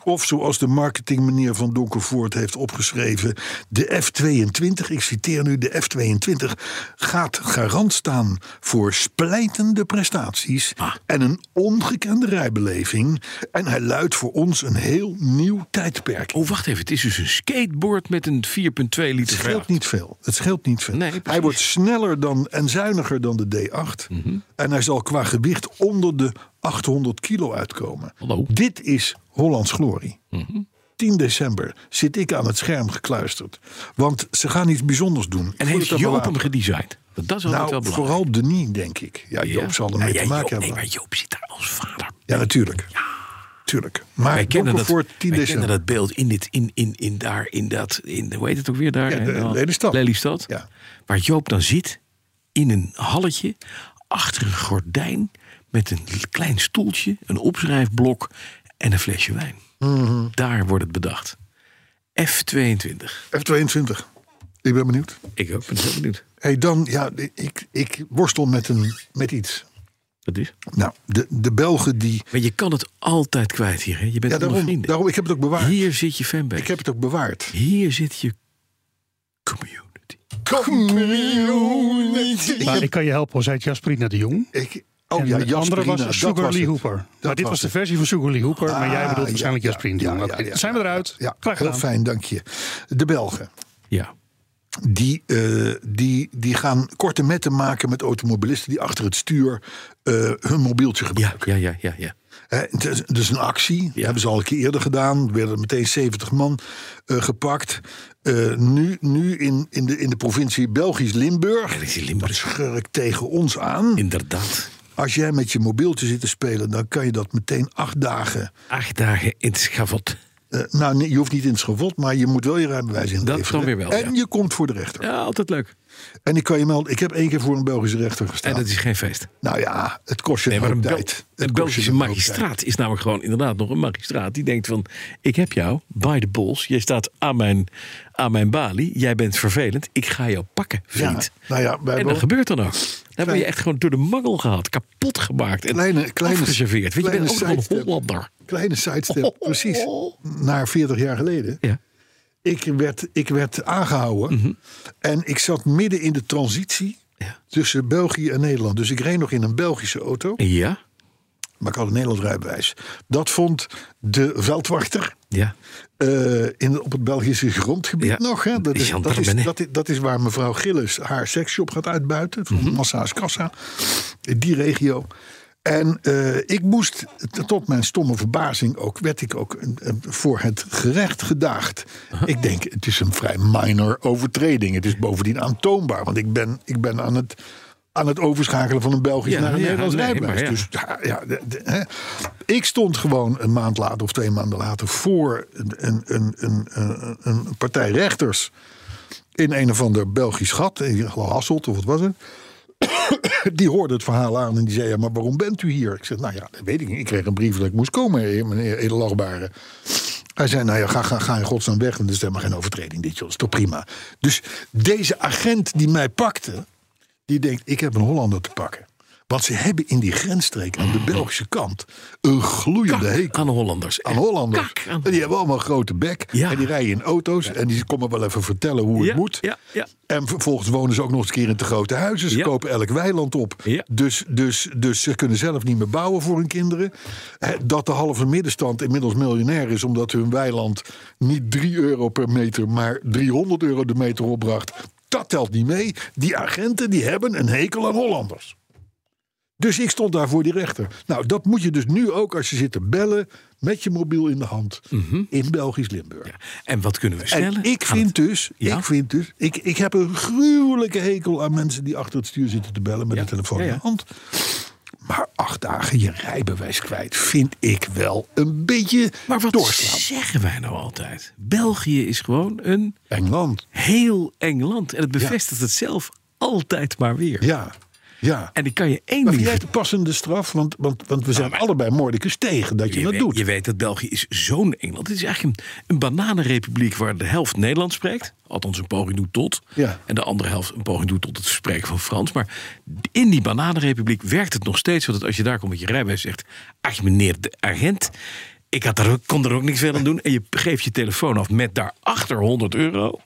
S2: Of zoals de marketingmeneer van Donkervoort heeft opgeschreven... de F22, ik citeer nu, de F22 gaat garant staan voor splijtende prestaties... en een ongekende rijbeleving. En hij luidt voor ons een heel nieuw tijdperk.
S6: Oh, wacht even. Het is dus een skateboard met een 4,2 liter
S2: Het
S6: V8.
S2: scheelt niet veel. Het scheelt niet veel.
S6: Nee, precies. Mhm.
S2: hij wordt sneller dan, en zuiniger dan de D8. En hij zal qua gewicht onder de 800 kilo uitkomen.
S6: Hallo. Mhm.
S2: Dit is Hollands glorie. 10 december zit ik aan het scherm gekluisterd. Want ze gaan iets bijzonders doen.
S6: En heeft Joop hem gedesigned? Want dat is altijd wel
S2: Nou,
S6: belangrijk.
S2: vooral Denis, denk ik. Ja, Joop zal
S6: Ja, Nou
S2: ermee
S6: ja,
S2: te maken
S6: Joop-
S2: hebben.
S6: Nee, maar Joop zit daar als vader.
S2: ja, natuurlijk. Tuurlijk. Maar
S6: Wij kennen, dat,
S2: voor 10
S6: wij
S2: december.
S6: kennen dat beeld in, dit, in, in, in daar, in dat, in, hoe heet het ook weer daar?
S2: Ja, de-
S6: hè, dan?
S2: Lelystad.
S6: Lelystad.
S2: Ja.
S6: Waar Joop dan zit, in een halletje, achter een gordijn, met een l- klein stoeltje, een opschrijfblok en een flesje wijn.
S2: Mhm.
S6: Daar wordt het bedacht. F22.
S2: F22. Ik ben benieuwd.
S6: Ik ook, ben heel benieuwd.
S2: Hey, dan, ja, ik, ik worstel met, een, met iets.
S6: Dat is.
S2: Nou, de, de Belgen die.
S6: Maar je kan het altijd kwijt hier. Hè? Je bent
S2: Ja,
S6: ja,
S2: daarom,
S6: vrienden.
S2: daarom, ik heb het ook bewaard.
S6: Hier zit je fanbase.
S2: Ik heb het ook bewaard.
S6: Hier zit je community.
S4: Maar ik kan je helpen, hoor, zei Jasperina de Jong.
S2: Ik, oh
S4: En
S2: ja,
S4: de andere
S2: Jasperina,
S4: was
S2: dat
S4: Sugar Lee
S2: het.
S4: Hooper. maar dit
S2: was
S4: was de
S2: het.
S4: versie van Sugar Lee Hooper. maar jij
S2: Ah,
S4: bedoelt
S2: ja,
S4: waarschijnlijk
S2: ja,
S4: Jasperina de
S2: ja,
S4: Jong.
S2: ja,
S4: Oké,
S2: ja,
S4: zijn we eruit?
S2: Ja,
S4: Graag
S2: heel
S4: gedaan.
S2: fijn, dank je. De Belgen,
S6: Ja.
S2: die, eh, die, die gaan korte metten maken met automobilisten die achter het stuur eh, hun mobieltje
S6: Ja,
S2: gebruiken.
S6: ja, ja, ja, ja.
S2: Hè, het is- Dus een actie,
S6: Ja.
S2: hebben ze al een keer eerder gedaan. Er werden meteen 70 man eh, gepakt. Eh, nu nu in, in, de, in de provincie Belgisch Limburg.
S6: Dat is in Limburg.
S2: Schurk tegen ons aan.
S6: Inderdaad.
S2: Als jij met je mobieltje zit te spelen, dan kan je dat meteen acht dagen.
S6: Acht dagen in het schavot.
S2: eh, nou, nee, je hoeft niet in het schavot, maar je moet wel je rijbewijs inleveren.
S6: dan weer wel,
S2: En
S6: ja.
S2: je komt voor de rechter.
S6: Ja, altijd leuk.
S2: En ik kan je melden, ik heb één keer voor een Belgische rechter
S6: En
S2: gestaan.
S6: dat is geen feest.
S2: Nou ja, het kost je
S6: Nee, maar
S2: een
S6: een,
S2: hoop
S6: Bel-
S2: tijd. Het kost
S6: een
S2: je
S6: Belgische
S2: een hoop
S6: magistraat is namelijk gewoon inderdaad nog een magistraat. Die denkt van, ik heb jou bij de bols. Jij staat aan mijn, aan mijn balie. Jij bent vervelend. Ik ga jou pakken,
S2: tijd.
S6: vriend.
S2: Ja, nou ja, wij
S6: en
S2: hebben
S6: dat gebeurt dan ook. Dan ben je echt gewoon door de mangel gehaald. Kapot gemaakt. En
S2: Kleine- kleine-
S6: afgeserveerd. Want je
S2: kleine
S6: bent ook nog een
S2: sidestep.
S6: Hollander.
S2: een kleine
S6: Oh,
S2: sidestep, precies. Naar 40 jaar geleden.
S6: Ja.
S2: Ik werd, ik werd aangehouden. En ik zat midden in de transitie
S6: Ja.
S2: tussen België en Nederland. Dus ik reed nog in een Belgische auto.
S6: Ja.
S2: maar ik had een Nederlands rijbewijs. Dat vond de veldwachter
S6: Ja.
S2: eh, in, op het Belgische grondgebied
S6: Ja,
S2: nog. Hè? Dat, is,
S6: Jean
S2: dat, is,
S6: Darmanin.
S2: dat, is, dat is waar mevrouw Gillis haar seksshop gaat uitbuiten. Van Massa's Kassa. In die regio. En eh, ik moest, t- tot mijn stomme verbazing ook, werd ik ook eh, eh, voor het gerecht gedaagd. Ik denk, het is een vrij minor overtreding. Het is bovendien aantoonbaar. Want ik ben, ik ben aan het... Aan het overschakelen van een Belgisch
S6: Ja,
S2: naar een
S6: ja,
S2: Nederlands
S6: nee, maar
S2: rijbewijs.
S6: ja.
S2: Dus ja, ja, de- de- hè. Ik stond gewoon een maand later of twee maanden later voor een, een, een, een, een, een partij rechters in een of ander Belgisch gat, in Hasselt of wat was het. Die hoorde het verhaal aan en die zei: ja, maar waarom bent u hier? Ik zeg: Nou ja, dat weet ik niet. Ik kreeg een brief dat ik moest komen, eh, meneer Edelachtbare. Hij zei: Nou ja, ga, ga, ga in godsnaam weg, want er is helemaal geen overtreding. Dit joh, dat is toch prima. Dus deze agent die mij pakte, die denkt: ik heb een Hollander te pakken. Want ze hebben in die grensstreek aan de Belgische kant een gloeiende hekel
S6: Aan de Hollanders.
S2: aan Hollanders.
S6: Kak aan
S2: En die hebben allemaal een grote bek.
S6: Ja.
S2: En die rijden in auto's. En die komen wel even vertellen hoe
S6: Ja,
S2: het moet.
S6: ja, ja.
S2: En vervolgens wonen ze ook nog eens een keer in te grote huizen. Ze
S6: Ja.
S2: kopen elk weiland op.
S6: Ja.
S2: Dus, dus, dus ze kunnen zelf niet meer bouwen voor hun kinderen. Hè, Dat de halve middenstand inmiddels miljonair is. Omdat hun weiland niet 3 euro per meter. Maar 300 euro de meter opbracht. Dat telt niet mee. Die agenten die hebben een hekel aan Hollanders. Dus ik stond daar voor die rechter. Nou, dat moet je dus nu ook als je zit te bellen met je mobiel in de hand
S6: Mhm.
S2: in Belgisch Limburg.
S6: En wat kunnen we
S2: En
S6: stellen?
S2: ik
S6: Aan
S2: vind,
S6: het-
S2: dus,
S6: Ja.
S2: ik vind dus, ik, ik heb een gruwelijke hekel aan mensen die achter het stuur zitten te bellen met
S6: Ja.
S2: de telefoon
S6: Ja,
S2: in
S6: ja.
S2: de hand. Maar acht dagen je rijbewijs kwijt vind ik wel een beetje
S6: Maar wat
S2: doorslaan.
S6: zeggen wij nou altijd? België is gewoon een
S2: Engeland.
S6: heel eng land. En het bevestigt het zelf altijd maar weer.
S2: Ja, ja.
S6: En ik kan je één
S2: maar vind
S6: ding
S2: jij
S6: vertellen.
S2: het een passende straf? Want, want, want we zijn allebei moordicus tegen dat je, dat
S6: weet,
S2: doet.
S6: Je weet dat België is zo'n Engeland. Het is eigenlijk een, een bananenrepubliek waar de helft Nederlands spreekt. Althans een poging doet tot.
S2: Ja.
S6: En de andere helft een poging doet tot het spreken van Frans. Maar in die bananenrepubliek werkt het nog steeds. Want als je daar komt met je rijbewijs zegt... Ach, meneer de agent... Ik had er, ook- kon er ook niks verder aan doen. En je geeft je telefoon af met daarachter 100 euro.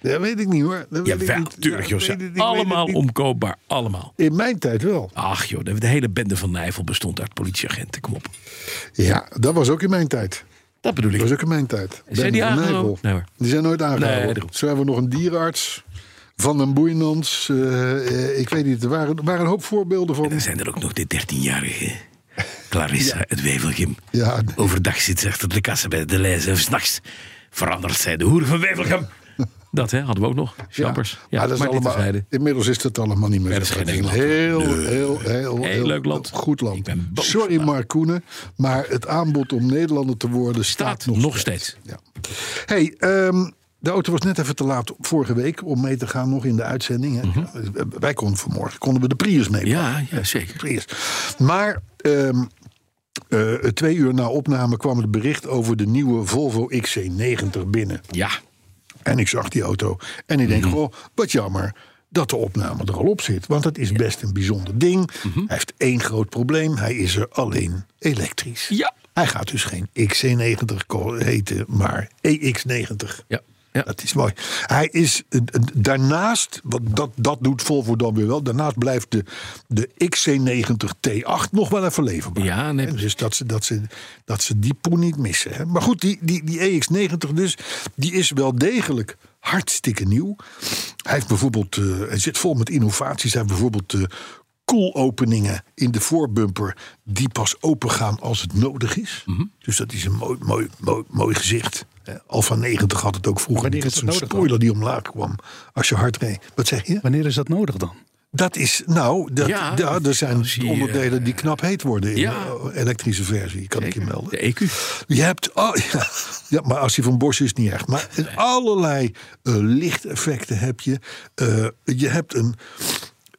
S2: dat weet ik niet hoor. Dat
S6: Ja,
S2: weet ik
S6: wel,
S2: niet.
S6: tuurlijk,
S2: Ja,
S6: joh.
S2: weet
S6: Ze
S2: het- ik weet het
S6: Allemaal
S2: niet.
S6: omkoopbaar, allemaal.
S2: In mijn tijd wel.
S6: Ach joh, de de hele bende van Nijvel bestond uit politieagenten, kom op.
S2: Ja, dat was ook in mijn tijd.
S6: Dat bedoel
S2: Dat was
S6: ik.
S2: ook in mijn tijd.
S6: Zijn die
S2: Benno van
S6: aangehouden?
S2: Nijvel.
S6: Nee, hoor.
S2: die zijn nooit aangehouden.
S6: Nee, daarom.
S2: Zo hebben we nog een dierenarts. Van den Boeienans. eh, eh, ik weet niet, er waren, er waren een hoop voorbeelden van.
S6: Dan zijn er ook nog de 13-jarige Clarissa het Wevelgem.
S2: Ja.
S6: Overdag zit ze achter de kassa bij de lijst en s'nachts verandert zij de hoer van Wevelgem. Dat hè, hadden we ook nog. Champers. Ja, Ah,
S2: maar dat is
S6: dit
S2: allemaal,
S6: terzijde.
S2: inmiddels is dat allemaal niet meer
S6: Nee,
S2: zo.
S6: dat is geen
S2: Het een heel,
S6: Engeland. Nee.
S2: heel, heel, heel,
S6: Heel leuk land.
S2: Goed land.
S6: Ik ben boos
S2: Sorry
S6: vandaag.
S2: Mark Koenen, maar het aanbod om Nederlander te worden staat,
S6: Staat
S2: nog
S6: nog steeds.
S2: Ja. Hey, ehm, de auto was net even te laat vorige week om mee te gaan nog in de uitzending. Hè. Wij konden vanmorgen konden we de Prius mee.
S6: Mhm. Ja, ja, zeker.
S2: Prius. Maar ehm, eh, twee uur na opname kwam het bericht over de nieuwe Volvo XC90 binnen.
S6: Ja,
S2: En ik zag die auto en ik
S6: Mhm.
S2: denk, goh, wat jammer dat de opname er al op zit. Want het is best een bijzonder ding.
S6: Mhm.
S2: Hij heeft één groot probleem. Hij is er alleen elektrisch.
S6: Ja.
S2: Hij gaat dus geen XC90 ko- heten, maar EX90.
S6: ja, ja.
S2: Dat is mooi. Hij is eh, eh, daarnaast, wat dat, dat doet Volvo dan weer wel. Daarnaast blijft de, de XC90 T8 nog wel even leverbaar.
S6: Ja, nee,
S2: Hè, Dus dat ze, dat, ze, dat ze die poen niet missen. Hè. Maar goed, die, die, die EX90 dus, die is wel degelijk hartstikke nieuw. Hij heeft bijvoorbeeld, eh, hij zit vol met innovaties. Hij heeft bijvoorbeeld eh koelopeningen in de voorbumper die pas open gaan als het nodig is.
S4: Mhm.
S2: Dus dat is een mooi, mooi, mooi, mooi gezicht. Eh, Alfa 90 had het ook vroeger.
S4: Wanneer
S2: Dat
S4: is
S2: is
S4: dat
S2: een
S4: nodig
S2: spoiler die omlaag kwam als je hard reed. Wat zeg je?
S4: Wanneer is dat nodig dan?
S2: Dat is, nou, dat,
S6: Ja,
S2: ja, er zijn
S6: als je,
S2: onderdelen die knap heet worden in
S6: ja.
S2: de elektrische versie, kan ik je melden.
S6: De E EQ.
S2: Je hebt, al- ja, ja, maar als die van Bosch is niet echt. Maar allerlei eh, lichteffecten heb je. Eh, je hebt een,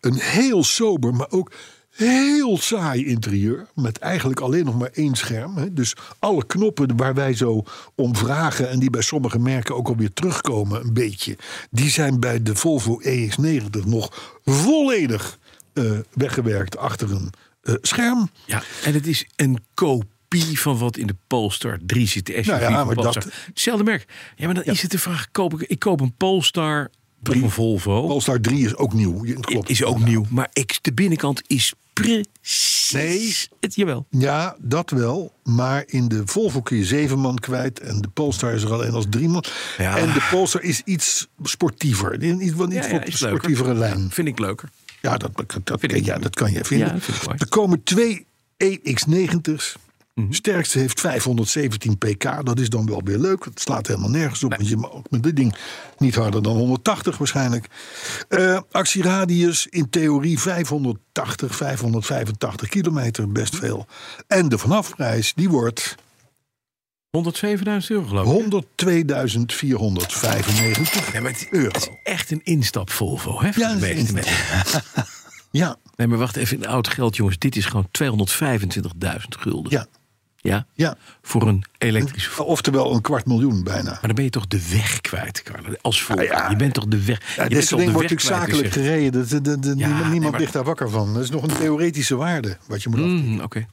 S2: een heel sober, maar ook heel saai interieur. Met eigenlijk alleen nog maar één scherm. Hè. Dus alle knoppen waar wij zo om vragen... en die bij sommige merken ook alweer terugkomen een beetje... die zijn bij de Volvo EX90 nog volledig eh, weggewerkt achter een eh, scherm.
S6: Ja, en het is een kopie van wat in de Polestar 3 zit. De SUV
S2: Nou ja,
S6: van
S2: maar
S6: Polestar.
S2: dat-
S6: Hetzelfde merk. Ja, maar dan is het de vraag, koop ik, ik koop een Polestar of een Volvo.
S2: Polestar 3 is ook nieuw. Je- Klopt.
S6: Is ook nieuw, maar ik, de binnenkant is precies
S2: Nee.
S6: het. Jawel.
S2: Ja, dat wel. Maar in de Volvo kun je zeven man kwijt. En de Polestar is er alleen als drie man.
S6: Ja.
S2: En de Polestar is iets sportiever. Iets, iets, van
S6: Ja, ja,
S2: een
S6: is leuker.
S2: sportievere lijn.
S6: Vind ik leuker.
S2: Ja, dat, dat, dat-
S6: Vind ik-
S2: ja, dat kan je vinden.
S6: Ja, dat vind ik mooi. Mhm.
S2: er komen twee EX90's. Sterkste heeft 517 pk. Dat is dan wel weer leuk. Het slaat helemaal nergens op. Want je mag ook met dit ding niet harder dan 180 waarschijnlijk. Eh, actieradius in theorie 580, 585 kilometer. Best
S6: Mhm.
S2: veel. En de vanafprijs die wordt
S6: 107.000 euro geloof ik.
S2: 102.495
S6: Nee, maar het,
S2: euro.
S6: het is echt een instap Volvo. Hè, voor
S2: Ja,
S6: de
S2: het is
S6: meeste
S2: instap.
S6: mensen.
S2: Ja,
S6: Nee, maar wacht even. in Oud geld, jongens. Dit is gewoon 225.000 gulden.
S2: ja, Hm?
S6: Ja?
S2: ja.
S6: Voor een elektrische Volvo.
S2: Oftewel een kwart miljoen bijna.
S6: Maar dan ben je toch de weg kwijt, Carlo. Als Volvo.
S2: Ah, ja.
S6: Je bent toch de weg.
S2: Ja,
S6: je
S2: dit soort
S6: bent toch
S2: dingen
S6: de
S2: wordt
S6: weg
S2: natuurlijk
S6: kwijt,
S2: zakelijk
S6: dus
S2: gereden. Dat- dat- dat-
S6: Ja,
S2: niemand
S6: nee,
S2: niemand
S6: maar-
S2: ligt daar wakker van. Dat is nog een theoretische waarde wat je moet
S6: je-
S2: af-
S6: Mm, Oké.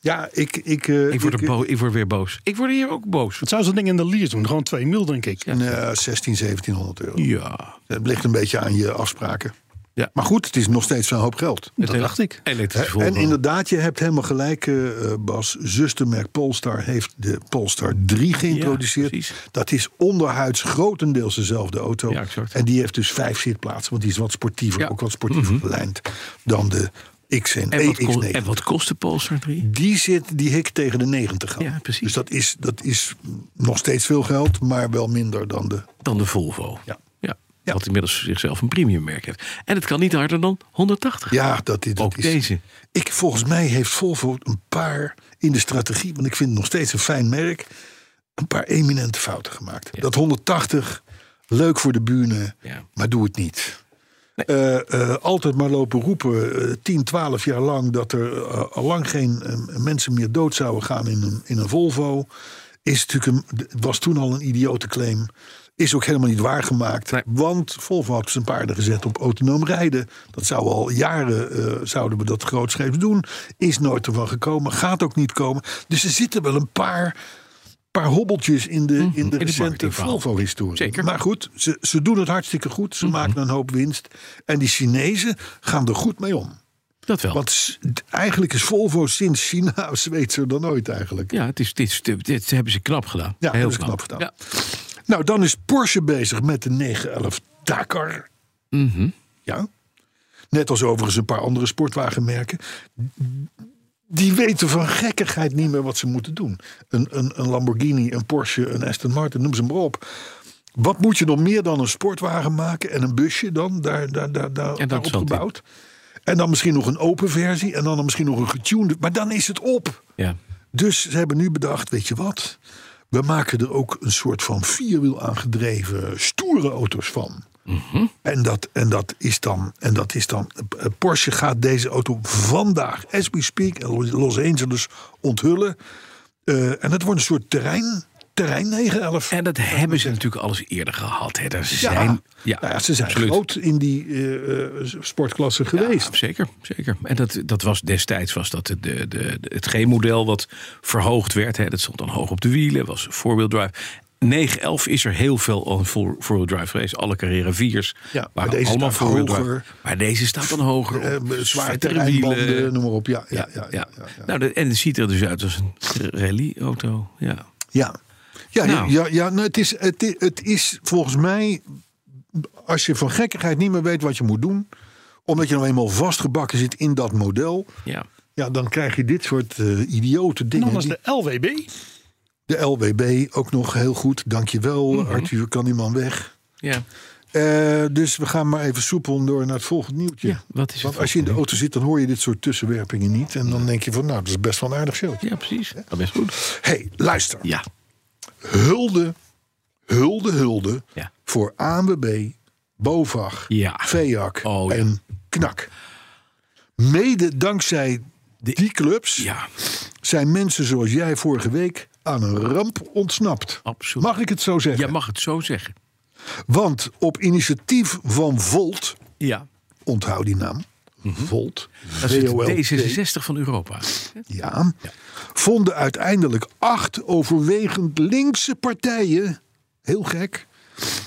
S2: Ja, ik... ik, eh,
S6: Ik, word er bo- ik word weer boos. Ik word hier ook boos.
S4: Wat zou zo'n ding in de lier doen? Gewoon 2 mil, denk ik.
S2: Nee, 16, 1700 eh, euro.
S6: Ja.
S2: Dat ligt een beetje aan je afspraken.
S6: Ja.
S2: Maar goed, het is nog steeds een hoop geld.
S6: Het
S4: dat
S6: hele-
S4: dacht ik.
S6: Elektrische
S2: Hè,
S6: Volvo.
S2: En inderdaad, je hebt helemaal gelijk, eh, eh, Bas. Zustermerk Polestar heeft de Polestar 3 geïntroduceerd.
S6: Ja, precies.
S2: dat is onderhuids grotendeels dezelfde auto.
S6: Ja, exact.
S2: en die heeft dus vijf zitplaatsen, want die is wat sportiever.
S6: Ja. Mhm.
S2: Ook wat sportiever gelijnd dan de E X en,
S6: En wat,
S2: X90.
S6: kost, en wat kost de Polestar 3?
S2: Die, zit, die hikt tegen de 90 aan.
S6: Ja, precies.
S2: Dus dat is, dat is nog steeds veel geld, maar wel minder dan de.
S6: Dan de Volvo.
S2: Ja.
S6: ja.
S2: Ja.
S6: Wat inmiddels zichzelf een premiummerk heeft. En het kan niet harder dan 180.
S2: Ja, dat, is- dat
S6: Ook
S2: is.
S6: deze.
S2: Ik, volgens mij heeft Volvo een paar in de strategie, want ik vind het nog steeds een fijn merk, een paar eminente fouten gemaakt. Dat 180, leuk voor de buren,
S6: Ja.
S2: maar doe het niet. Eh, eh, altijd maar lopen roepen, eh, 10, 12 jaar lang, dat er eh, al lang geen eh, mensen meer dood zouden gaan in een, in een Volvo. Is natuurlijk een, was toen al een idiote claim. Is ook helemaal niet waargemaakt. Want Volvo had zijn paarden gezet op autonoom rijden. Dat zou al jaren, eh, zouden we dat grootscheeps doen. Is nooit ervan gekomen, gaat ook niet komen. Dus er zitten wel een paar, paar hobbeltjes in de, in de
S6: Mhm. het
S2: recente
S6: marketingverhaal.
S2: Volvo-historie.
S6: Zeker. Mhm.
S2: Maar goed, ze, ze doen het hartstikke goed. Ze maken een hoop winst. En die Chinezen gaan er goed mee om.
S6: Dat wel.
S2: Want s- d- eigenlijk is Volvo sinds China Zweedser dan ooit eigenlijk.
S6: Ja, het is, dit, is- dit, dit hebben ze knap gedaan.
S2: Ja,
S6: Heel
S2: hebben ze
S6: knap.
S2: knap gedaan.
S6: Ja.
S2: Nou, dan is Porsche bezig met de 911 Dakar.
S6: Mhm.
S2: Ja. Net als overigens een paar andere sportwagenmerken. Die weten van gekkigheid niet meer wat ze moeten doen. Een, een, een Lamborghini, een Porsche, een Aston Martin, noem ze maar op. Wat moet je nog meer dan een sportwagen maken en een busje dan? Daar, daar, daar, daar,
S6: En dat
S2: daarop
S6: zand in.
S2: gebouwd. En dan misschien nog een open versie. En dan misschien nog een getuned. Maar dan is het op.
S6: ja.
S2: Dus ze hebben nu bedacht, weet je wat? We maken er ook een soort van vierwiel aangedreven stoere auto's van.
S6: Mhm.
S2: En, dat, en, dat is dan, en dat is dan... eh, Porsche gaat deze auto vandaag, as we speak, in Los Angeles onthullen. Eh, en het wordt een soort terrein, terrein 911.
S6: En dat hebben ze natuurlijk alles eerder gehad. Hè. Daar
S2: ja,
S6: zijn, ja,
S2: nou ja, ze zijn
S6: absoluut.
S2: groot in die eh, eh, sportklasse geweest.
S6: Ja, zeker, zeker. En dat, dat was destijds was dat de, de, de- het G-model wat verhoogd werd. Hè, dat stond dan hoog op de wielen, was four-wheel drive. 911 is er heel veel al een four- four-wheel drive geweest. Alle carrera 4's
S2: Ja,
S6: waren
S2: maar deze
S6: allemaal
S2: staat
S6: four-wheel
S2: hoger.
S6: drive. Maar deze staat dan hoger. op.
S2: Eh, zwaar
S6: Vettere
S2: terreinbanden,
S6: wielen.
S2: noem maar op. Ja,
S6: Ja, ja,
S2: ja, ja.
S6: Nou, de- en het ziet er dus uit als een rally-auto. Ja.
S2: Ja, ja,
S6: Nou.
S2: ja, ja nou, het, is, het, i- het is volgens mij, als je van gekkigheid niet meer weet wat je moet doen, omdat je nou eenmaal vastgebakken zit in dat model,
S6: ja.
S2: ja, dan krijg je dit soort eh, idiote
S4: En
S2: dingen.
S4: dan is
S2: Die-
S4: de LWB.
S2: de... LWB ook nog heel goed, dankjewel
S6: Mhm.
S2: Arthur, kan die man weg.
S6: ja.
S2: Eh, dus we gaan maar even soepel door naar het volgende nieuwtje.
S6: Ja, wat is het
S2: Want als je in de auto zit, dan hoor je dit soort tussenwerpingen niet. En dan denk je van, nou, dat is best wel een aardig showtje.
S6: Ja, precies. Dat is goed.
S2: Hé, hey, luister.
S6: Ja.
S2: hulde, hulde, hulde
S6: Ja.
S2: voor ANWB, BOVAG,
S6: Ja.
S2: VEAC
S6: Oh, ja.
S2: en KNAK. Mede dankzij die clubs
S6: Ja.
S2: zijn mensen zoals jij vorige week aan een ramp ontsnapt.
S6: Absoluut.
S2: Mag ik het zo zeggen?
S6: Jij mag het zo zeggen.
S2: Want op initiatief van Volt,
S6: Ja.
S2: onthoud die naam,
S6: Mhm.
S2: Volt,
S6: Dat is
S2: VOLT,
S6: het D66 van Europa.
S2: Ja. Vonden uiteindelijk acht overwegend linkse partijen, heel gek,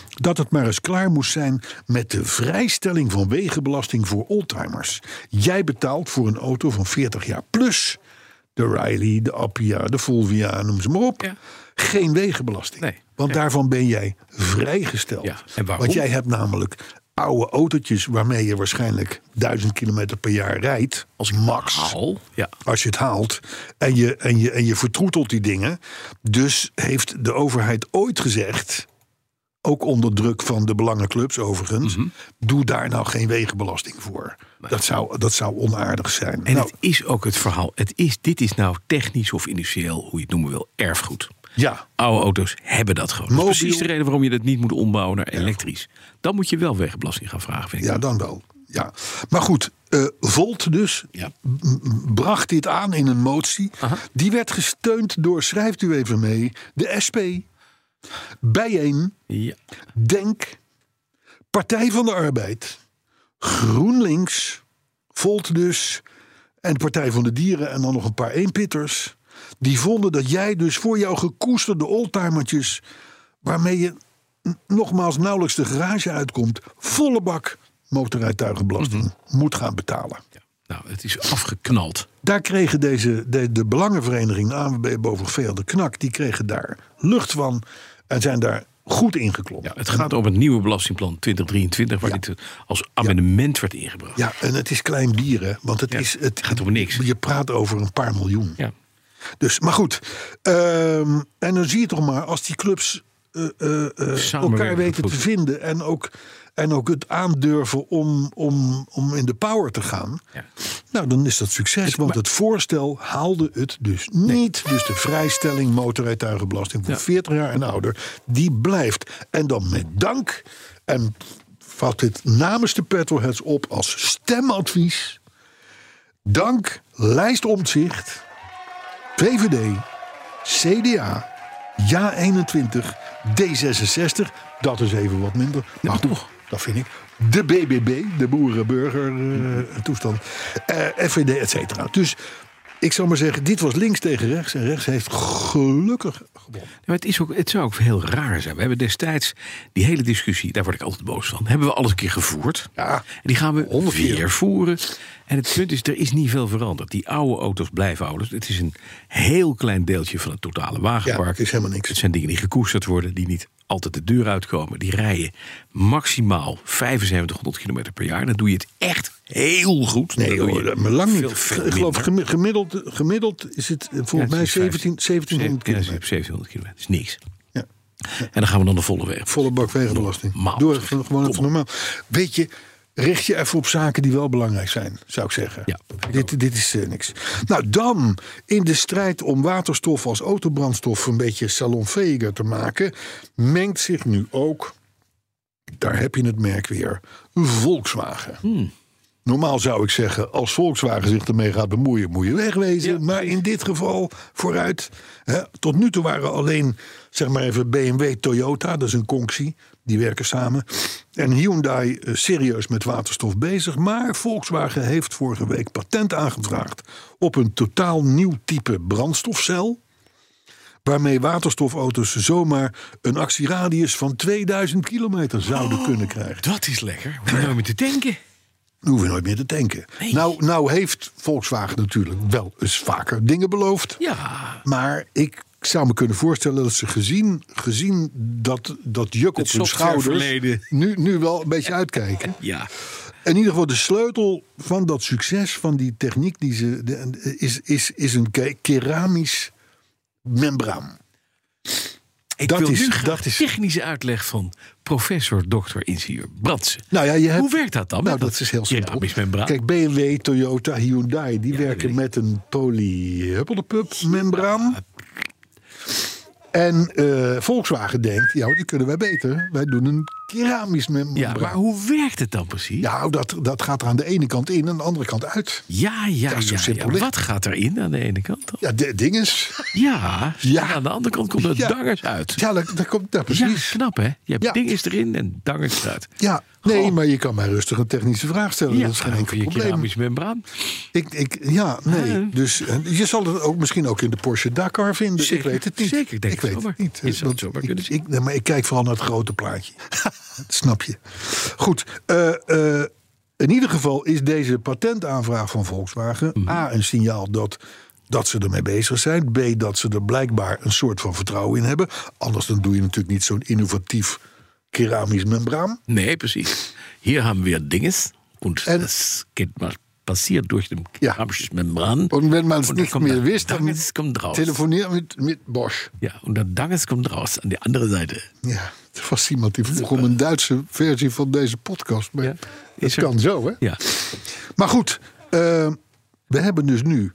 S2: dat het maar eens klaar moest zijn met de vrijstelling van wegenbelasting voor oldtimers. Jij betaalt voor een auto van 40 jaar plus de Riley, de Appia, de Fulvia, noem ze maar op.
S6: Ja.
S2: Geen wegenbelasting.
S6: Nee,
S2: Want daarvan ben jij vrijgesteld.
S6: Ja, en waarom?
S2: Want jij hebt namelijk oude autootjes waarmee je waarschijnlijk 1000 kilometer per jaar rijdt. Als max
S6: Al? Ja.
S2: als je het haalt. En je, en je, en je vertroetelt die dingen. Dus heeft de overheid ooit gezegd. Ook onder druk van de belangenclubs overigens.
S6: Mhm.
S2: Doe daar nou geen wegenbelasting voor. Dat zou, dat zou onaardig zijn.
S6: En
S2: nou,
S6: het is ook het verhaal. Het is, dit is nou technisch of industrieel, hoe je het noemen wil, erfgoed.
S2: ja,
S6: Oude auto's hebben dat gewoon. Dat is
S2: Mobiel.
S6: precies de reden waarom je dat niet moet ombouwen naar elektrisch. Dan moet je wel wegenbelasting gaan vragen, vind ik.
S2: ja, dan wel. Ja. Maar goed, eh, Volt dus
S6: Ja.
S2: m- m- bracht dit aan in een motie. Die werd gesteund door, schrijft u even mee, de SP. Bijeen.
S6: Ja.
S2: Denk, Partij van de Arbeid, GroenLinks, Volt dus en de Partij van de Dieren en dan nog een paar eenpitters. Die vonden dat jij dus voor jouw gekoesterde oldtimertjes, waarmee je n- nogmaals nauwelijks de garage uitkomt, volle bak motorrijtuigenbelasting
S6: Mhm.
S2: moet gaan betalen.
S6: Ja. Nou, het is afgeknald.
S2: Daar kregen deze, de, de belangenvereniging ANWB Bovenveel de Knak, die kregen daar lucht van en zijn daar goed ingeklommen.
S6: Ja, het gaat om het nieuwe belastingplan 2023, waar dit als amendement werd ingebracht.
S2: Ja, en het is klein bieren, want het
S6: Ja,
S2: is... Het
S6: gaat om niks.
S2: Je praat over een paar miljoen.
S6: Ja.
S2: Dus, maar goed. ehm, en dan zie je toch maar, als die clubs eh, eh, eh, elkaar
S6: Samenwerken
S2: weten
S6: goed.
S2: te vinden... en ook, en ook het aandurven om, om, om in de power te gaan...
S6: Ja. Dus
S2: nou, dan is dat succes. Want het voorstel haalde het dus niet. Dus de vrijstelling motorrijtuigenbelasting voor
S6: Ja.
S2: 40 jaar en ouder... die blijft. En dan met dank... en vat dit namens de petrolheads op als stemadvies... Dank lijst Omtzigt, VVD, CDA, JA21, D66. Dat is even wat minder. Maar goed,
S6: toch.
S2: Dat vind ik. De BBB, de boerenburgertoestand. eh FVD, et cetera. Dus ik zou maar zeggen, dit was links tegen rechts. En rechts heeft gelukkig gewonnen.
S6: Ja, Maar het, is ook, het zou ook heel raar zijn. We hebben destijds die hele discussie, daar word ik altijd boos van, hebben we alles een keer gevoerd.
S2: Ja,
S6: en die gaan we
S2: honderd keer.
S6: weer voeren. En het punt is, er is niet veel veranderd. Die oude auto's blijven ouders. Het is een heel klein deeltje van het totale wagenpark.
S2: Ja, het is helemaal niks.
S6: Het zijn dingen die gekoesterd worden, die niet altijd de deur uitkomen. Die rijden maximaal 7500 kilometer per jaar. Dan doe je het echt heel goed. Dan
S2: Nee,
S6: doe
S2: hoor,
S6: je
S2: dat- maar lang niet.
S6: veel, veel
S2: ik geloof gemi-
S6: minder.
S2: gemiddeld, gemiddeld is het eh,
S6: Ja,
S2: volgens
S6: het
S2: mij
S6: is
S2: 17, 1700
S6: Ja, het is
S2: kilometer.
S6: 1700 kilometer. Dat is niks.
S2: Ja.
S6: En dan gaan we dan de volle weg.
S2: Volle bak wegenbelasting.
S6: Normaal.
S2: Doe even
S6: Kom
S2: gewoon even
S6: op.
S2: normaal. Weet je, richt je even op zaken die wel belangrijk zijn, zou ik zeggen.
S6: Ja,
S2: dit, dit is eh, niks. Nou, dan in de strijd om waterstof als autobrandstof een beetje salonfähiger te maken, mengt zich nu ook, daar heb je het merk weer, Volkswagen. Normaal zou ik zeggen, als Volkswagen zich ermee gaat bemoeien, moet je wegwezen. maar in dit geval vooruit. Hè, tot nu toe waren alleen, zeg maar even, BMW, Toyota, dat is een conctie. Die werken samen. En Hyundai eh, serieus met waterstof bezig. Maar Volkswagen heeft vorige week patent aangevraagd op een totaal nieuw type brandstofcel. Waarmee waterstofauto's zomaar een actieradius van 2000 kilometer zouden kunnen krijgen.
S6: Dat is lekker. Hoe nou met te denken?
S2: Dan hoeven we nooit meer te tanken. Nou, nou heeft Volkswagen natuurlijk wel eens vaker dingen beloofd.
S6: Ja.
S2: Maar ik zou me kunnen voorstellen dat ze gezien, gezien dat, dat juk op
S6: Het
S2: hun schouders...
S6: softwareverleden.
S2: Nu, nu wel een beetje uitkijken.
S6: Ja.
S2: In ieder geval de sleutel van dat succes van die techniek... Die ze, de- is, is, is een ke- keramisch membraan.
S6: Ik
S2: Dat
S6: wil
S2: is-
S6: nu graag
S2: dat is-
S6: technische uitleg van professor, dokter, ingenieur Brandsen.
S2: Nou ja, je hebt,
S6: Hoe werkt dat dan?
S2: Nou,
S6: Met
S2: dat, is heel simpel.
S6: keramisch membraan.
S2: Kijk, BMW, Toyota, Hyundai, die werken met een polyhuppedepup membraan. En eh, Volkswagen denkt, ja, die kunnen wij beter. Wij doen een keramisch membraan.
S6: Ja, maar hoe werkt het dan precies?
S2: Ja, nou, dat, dat gaat er aan de ene kant in en aan de andere kant uit.
S6: ja, ja.
S2: Ja, zo
S6: ja,
S2: simpel
S6: ja.
S2: ligt-
S6: Wat gaat erin aan de ene kant dan?
S2: Ja, de dinges.
S6: Ja,
S2: Ja.
S6: en aan de andere kant komt het
S2: Ja.
S6: dangers uit.
S2: Ja, dat, dat komt, ja,
S6: Ja,
S2: precies.
S6: knap hè? Je hebt
S2: Ja.
S6: ding is erin en dangers eruit.
S2: Ja, nee,
S6: Goh.
S2: maar je kan mij rustig een technische vraag stellen. dat is geen
S6: over
S2: enkel
S6: je
S2: probleem.
S6: keramische membraan.
S2: Ik, ik, ja, nee. Dus eh, je zal het ook misschien ook in de Porsche Dakar vinden.
S6: Zeker,
S2: ik weet het niet.
S6: zeker, Dus ik denk
S2: ik
S6: het
S2: weet
S6: zomaar.
S2: het niet.
S6: Je zou het zomaar
S2: ik,
S6: kunnen zien.
S2: ik- nee, maar ik kijk vooral naar het grote plaatje. Dat snap je. Goed. eh, eh, in ieder geval is deze patentaanvraag van Volkswagen...
S6: Mhm.
S2: A, een signaal dat, dat ze ermee bezig zijn. B, dat ze er blijkbaar een soort van vertrouwen in hebben. Anders dan doe je natuurlijk niet zo'n innovatief keramisch membraan.
S6: Nee, precies. Hier hebben we dinges. En
S2: En-
S6: das geht mal passiert durch den
S2: Ja.
S6: keramisches Membran.
S2: Und wenn man es
S6: Und dann
S2: nicht
S6: kommt
S2: mehr
S6: der
S2: wisst, dann
S6: Danges kommt raus.
S2: telefoneer met, met Bosch.
S6: Ja, und dann Danges kommt raus an die andere Seite.
S2: Ja, er was iemand die vroeg om een Duitse versie van deze podcast. Maar
S6: Ja,
S2: dat
S6: is er.
S2: kan zo, hè?
S6: Ja.
S2: Maar goed, eh, we hebben dus nu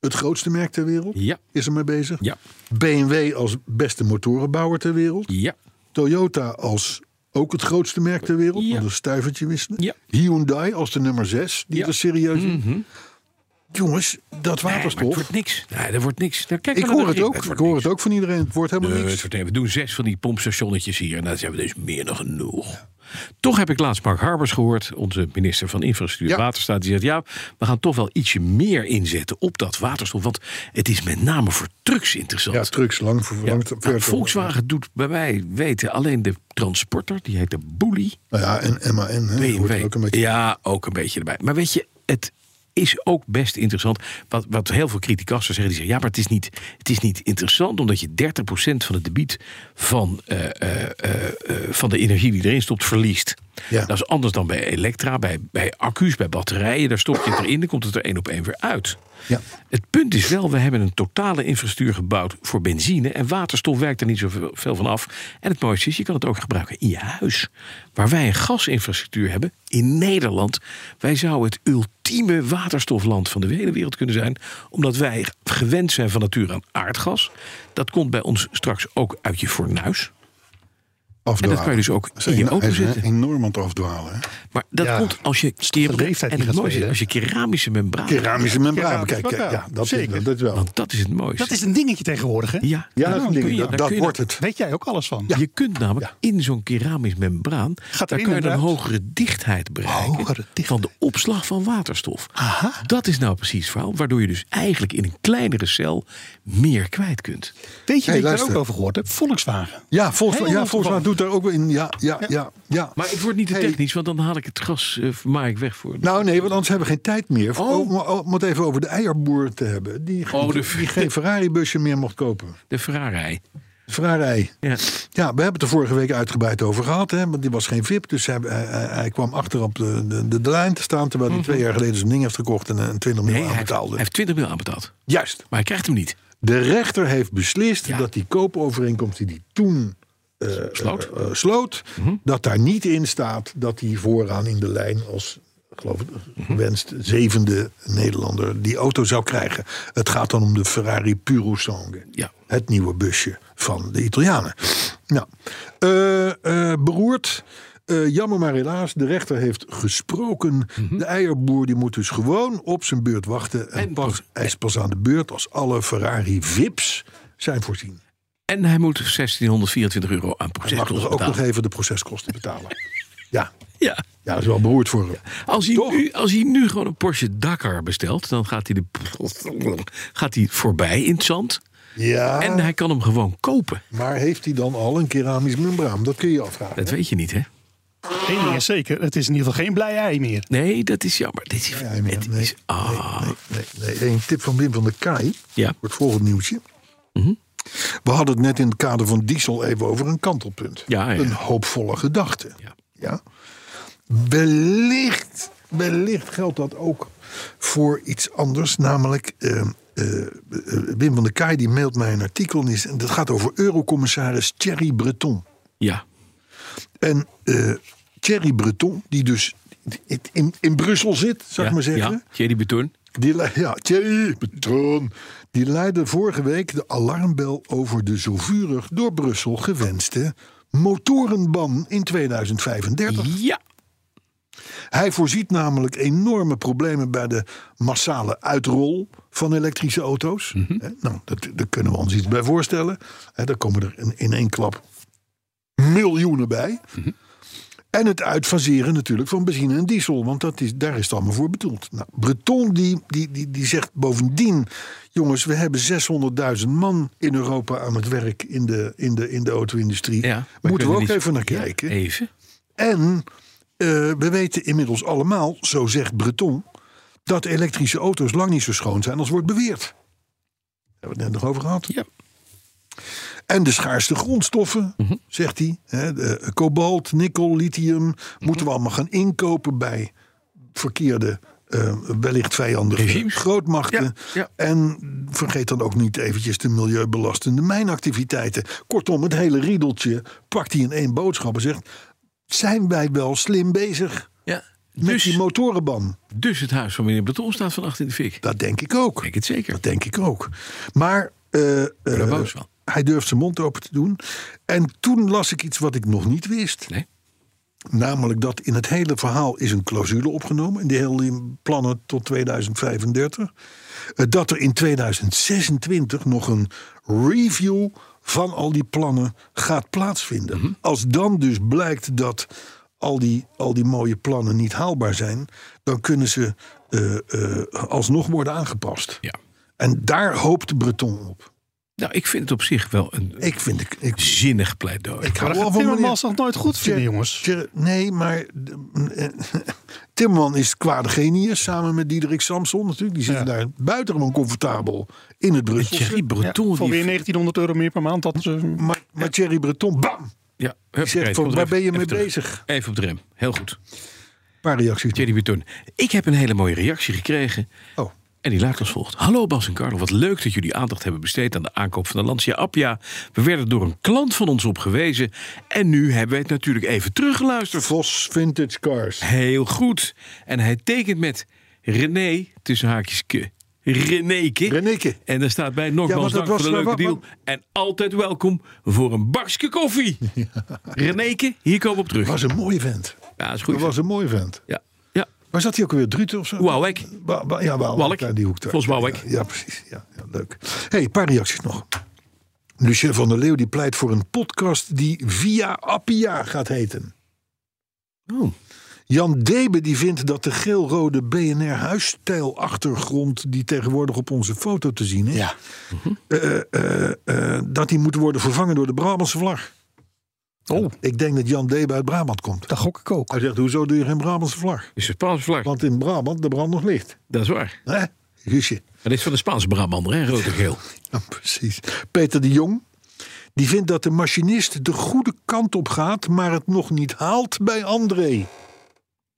S2: het grootste merk ter wereld.
S6: Ja.
S2: Is er mee bezig.
S6: Ja.
S2: BMW als beste motorenbouwer ter wereld.
S6: Ja.
S2: Toyota als ook het grootste merk ter wereld.
S6: Ja.
S2: Want een stuivertje wisten.
S6: Ja.
S2: Hyundai als de nummer 6. Die
S6: Ja. Mhm.
S2: er serieus in. Jongens, dat
S6: Nee, maar het
S2: waterstof.
S6: wordt niks. Nee, dat wordt niks. Nou, kijk
S2: ik
S6: maar naar
S2: hoor
S6: de
S2: het
S6: ring.
S2: ook. Ik
S6: wordt
S2: hoor
S6: niks.
S2: het ook van iedereen. Het wordt helemaal
S6: Nee, Eh, het
S2: niks.
S6: wordt- nee, we doen zes van die pompstationnetjes hier. En dat hebben we dus meer dan genoeg. Toch heb ik laatst Mark Harbers gehoord, onze minister van Infrastructuur en
S2: Ja.
S6: Waterstaat. Die zegt, ja, we gaan toch wel ietsje meer inzetten op dat waterstof. Want het is met name voor trucks interessant.
S2: Ja, trucks lang ver-
S6: Ja,
S2: lang-
S6: nou,
S2: ver-
S6: Volkswagen doet bij mij weten alleen de transporter. Die heet de Bully.
S2: Nou ja, en MAN. Hè, die hoort
S6: BMW.
S2: er ook een beetje.
S6: Ja, ook een beetje erbij. Maar weet je, het is ook best interessant. Wat, wat heel veel criticassen zeggen, die zeggen... ja, maar het is niet, het is niet interessant... omdat je 30% van het debiet van, eh, eh, eh, eh, van de energie die erin stopt verliest.
S2: Ja.
S6: Dat is anders dan bij elektra, bij, bij accu's, bij batterijen. Daar stop je het erin, dan komt het er één op één weer uit.
S2: Ja.
S6: Het punt is wel, we hebben een totale infrastructuur gebouwd voor benzine. En waterstof werkt er niet zoveel van af. En het mooiste is, je kan het ook gebruiken in je huis. Waar wij een gasinfrastructuur hebben in Nederland. Wij zouden het ultieme waterstofland van de hele wereld kunnen zijn. Omdat wij gewend zijn van nature aan aardgas. Dat komt bij ons straks ook uit je fornuis. En
S2: Afdwalen.
S6: dat kan je dus ook
S2: Dat is
S6: in je
S2: een-
S6: auto
S2: hij is,
S6: zetten.
S2: eh, enorm aan het afdwalen. hè.
S6: Maar dat
S4: Ja.
S6: komt als je keer
S4: leeftijd
S6: en
S4: die gaat
S6: het mooiste is
S4: spelen,
S6: als je keramische membraan.
S2: Keramische membraan.
S4: keramische
S2: Kijk, kijk,
S4: membraan.
S2: ja, dat,
S4: Zeker.
S2: Is, dat is wel.
S6: Want dat is het mooiste.
S4: Dat is een dingetje tegenwoordig, hè?
S6: ja,
S2: ja,
S6: daar
S2: dat, is een
S6: kun
S2: ding.
S6: je-
S2: dat,
S6: daar
S2: dat
S6: kun je
S2: wordt het.
S4: Weet jij ook alles van?
S6: Je kunt namelijk in zo'n keramisch membraan.
S4: Gaat
S6: daar
S4: erin
S6: kun je een
S4: en eruit?
S6: hogere dichtheid bereiken.
S4: Hogere dichtheid.
S6: Van de opslag van waterstof.
S4: Aha.
S6: Dat is nou precies het verhaal. Waardoor je dus eigenlijk in een kleinere cel meer kwijt kunt.
S4: Weet je
S2: Hey,
S4: dat ik daar
S2: luister.
S4: ook over gehoord heb? Volkswagen.
S2: Ja, Volkswagen, ja,
S4: Helemaal
S2: Volkswagen doet daar ook wel in. Ja, ja, ja. ja,
S6: Maar ik word niet te
S2: Hey.
S6: technisch, want dan haal ik het gas eh, maak ik weg voor.
S2: Nou nee, want anders hebben we geen tijd meer.
S6: Oh.
S2: Om, om het even over de eierboer te hebben. Die,
S6: Oh, de-
S2: die geen Ferrari-busje meer mocht kopen.
S6: De Ferrari.
S2: Ferrari.
S6: Ja.
S2: Ja, we hebben het er vorige week uitgebreid over gehad. Hè, want die was geen VIP. Dus hij, hij, hij- hij kwam achter op de, de, de, de lijn te staan. Terwijl hij twee jaar geleden zijn ding heeft gekocht en een 20
S6: Mhm. Nee,
S2: miljoen
S6: hij, heeft, hij
S2: aanbetaalde.
S6: heeft 20 mil aanbetaald.
S2: Juist.
S6: Maar hij krijgt hem niet.
S2: De rechter heeft beslist
S6: Ja.
S2: dat die koopovereenkomst die die toen
S6: Sloot. Mhm.
S2: eh, sloot, dat daar niet in staat dat hij vooraan in de lijn als geloof ik,
S6: Mhm.
S2: gewenst zevende Nederlander die auto zou krijgen. Het gaat dan om de Ferrari Purosangue.
S6: Ja.
S2: Het nieuwe busje van de Italianen. Nou, eh, eh, beroerd. Eh, jammer maar helaas, de rechter heeft gesproken. De eierboer die moet dus gewoon op zijn beurt wachten. En,
S6: Mhm. En
S2: pas,
S6: pas-
S2: hij is pas aan de beurt als alle Ferrari VIP's zijn voorzien.
S6: En hij moet 1624 euro aan
S2: Hij mag
S6: proceskosten
S2: nog ook nog
S6: betalen.
S2: even de proceskosten betalen. ja,
S6: Ja.
S2: ja, dat is wel beroerd voor hem.
S6: Als hij, nu, als hij nu gewoon een Porsche Dakar bestelt, dan gaat hij, de, gaat hij voorbij in het zand.
S2: Ja,
S6: En hij kan hem gewoon kopen.
S2: maar heeft hij dan al een keramisch membraan? Dat kun je je afvragen.
S6: Dat weet je niet, hè?
S4: Eén ding is zeker, het is in ieder geval geen blij ei meer.
S6: Nee, dat is jammer. Dit is,
S2: Ja, nee,
S6: het
S2: nee,
S6: is, ah,
S2: nee, nee, nee. Een tip van Wim van der Kaai
S6: Ja.
S2: voor het volgende nieuwtje.
S6: Mhm.
S2: We hadden het net in het kader van diesel even over een kantelpunt.
S6: Ja, ja.
S2: Een hoopvolle gedachte.
S6: Ja.
S2: Ja. Wellicht, wellicht geldt dat ook voor iets anders. Namelijk, eh, eh, eh, Wim van der Kaai die mailt mij een artikel. En die is- en dat gaat over eurocommissaris Thierry Breton.
S6: ja.
S2: En eh, Thierry Breton, die dus in, in Brussel zit, zou
S6: ja,
S2: ik maar zeggen.
S6: Ja, Thierry Beton.
S2: Die, le- ja, Thierry Breton. Die leidde vorige week de alarmbel over de zo vurig door Brussel gewenste motorenban in 2035.
S6: Ja,
S2: Hij voorziet namelijk enorme problemen bij de massale uitrol van elektrische auto's.
S6: Mhm.
S2: Hè, Nou, dat, daar kunnen we ons iets bij voorstellen. Hè, daar komen er in, in één klap miljoenen bij.
S6: Mhm.
S2: En het uitfaseren natuurlijk van benzine en diesel. Want dat is, daar is het allemaal voor bedoeld. Nou, Breton die, die, die, die zegt bovendien... jongens, we hebben 600.000 man in Europa aan het werk in de, in de, in de auto-industrie.
S6: ja. maar
S2: Moeten we
S6: kunnen
S2: ook
S6: niet-
S2: even naar
S6: Ja,
S2: kijken.
S6: even.
S2: En eh, we weten inmiddels allemaal, zo zegt Breton, dat elektrische auto's lang niet zo schoon zijn als wordt beweerd. Daar hebben we het net nog over gehad.
S6: Ja.
S2: En de schaarste grondstoffen,
S6: Mhm.
S2: zegt hij. Hè, de, eh, kobalt, nikkel, lithium.
S6: Mhm.
S2: Moeten we allemaal gaan inkopen bij verkeerde, eh, wellicht vijandige
S6: Regimes.
S2: grootmachten.
S6: Ja, ja.
S2: En vergeet dan ook niet eventjes de milieubelastende mijnactiviteiten. Kortom, het hele riedeltje pakt hij in één boodschap en zegt... zijn wij wel slim bezig
S6: Ja.
S2: met die
S6: Dus,
S2: motorenban?
S6: dus het huis van meneer Breton staat vannacht in de fik. Ik
S2: Dat denk ik ook.
S6: denk het zeker.
S2: Dat denk ik ook. Maar eh,
S6: daar
S2: eh,
S6: boos van.
S2: hij durft zijn mond open te doen. En toen las ik iets wat ik nog niet wist.
S6: Nee.
S2: Namelijk dat in het hele verhaal is een clausule opgenomen. In de hele plannen tot 2035. Eh, Dat er in 2026 nog een review van al die plannen gaat plaatsvinden. Als dan dus blijkt dat al die, al die mooie plannen niet haalbaar zijn... dan kunnen ze eh, eh, alsnog worden aangepast.
S6: Ja.
S2: En daar hoopt Breton op.
S6: Nou, ik vind het op zich wel een
S2: Ik vind ik, ik,
S6: zinnig pleidooi.
S2: ik hou
S4: Maar
S2: wel van
S4: dat gaat
S2: meneer-
S4: Timmermans nog nooit goed vinden, jongens.
S2: Tje- Nee, maar eh, Timmerman is kwade genius samen met Diederik Samson natuurlijk. Die zitten daar buitengewoon comfortabel in het
S6: En
S2: Brusselse.
S6: Thierry Breton,
S4: Voor weer
S6: die...
S4: 1900 euro meer per maand. Dat, eh,
S2: Maar, maar Thierry Breton, bam!
S6: Ja,
S2: zegt
S6: huppakee,
S2: van,
S6: komt er
S2: waar
S6: even-
S2: ben je mee
S6: even terug.
S2: bezig?
S6: Even op de rem. Heel goed.
S2: Een paar reacties.
S6: Thierry Breton. Ik heb een hele mooie reactie gekregen.
S2: Oh.
S6: En die luidt als volgt. Hallo Bas en Carlo, wat leuk dat jullie aandacht hebben besteed aan de aankoop van de Lancia Appia. We werden door een klant van ons op gewezen en nu hebben we het natuurlijk even teruggeluisterd.
S2: Vos Vintage Cars.
S6: Heel goed. En hij tekent met René, tussen haakjes ke. Renéke.
S2: Renéke.
S6: En daar staat bij
S2: Ja,
S6: nogmaals
S2: want dat
S6: dank voor
S2: was-
S6: de leuke
S2: wa- wa-
S6: deal. En altijd welkom voor een bakje koffie. Renéke, hier komen we op terug.
S2: Was een mooie vent.
S6: Ja, is goed.
S2: Dat was een mooie vent.
S6: Ja. Ja.
S2: Waar zat hij ook weer? Druten of zo?
S6: Wauwek.
S2: Wa- wa- ja, Wauwek.
S6: Walk.
S2: Ja, die hoek daar.
S6: Volgens Wauwek.
S2: Ja, ja, precies. Ja, ja, leuk. hey, een paar reacties nog. Lucien van der Leeuw die pleit voor een podcast die Via Appia gaat heten.
S6: Oh.
S2: Jan Debe die vindt dat de geelrode BNR huisstijlachtergrond die tegenwoordig op onze foto te zien is, eh, eh, eh, dat die moet worden vervangen door de Brabantse vlag.
S4: Oh.
S2: Ik denk dat Jan Debe uit Brabant komt.
S4: dat gok ik ook.
S2: Hij zegt, hoezo doe je geen Brabantse vlag?
S6: Is de Spaanse vlag.
S2: Want in Brabant de brand nog ligt.
S6: Dat is waar.
S2: Hè? Guusje.
S6: Maar dit is van de Spaanse Brabander, hè? Rood en geel.
S2: Ja, precies. Peter de Jong. Die vindt dat de machinist de goede kant op gaat, maar het nog niet haalt bij André.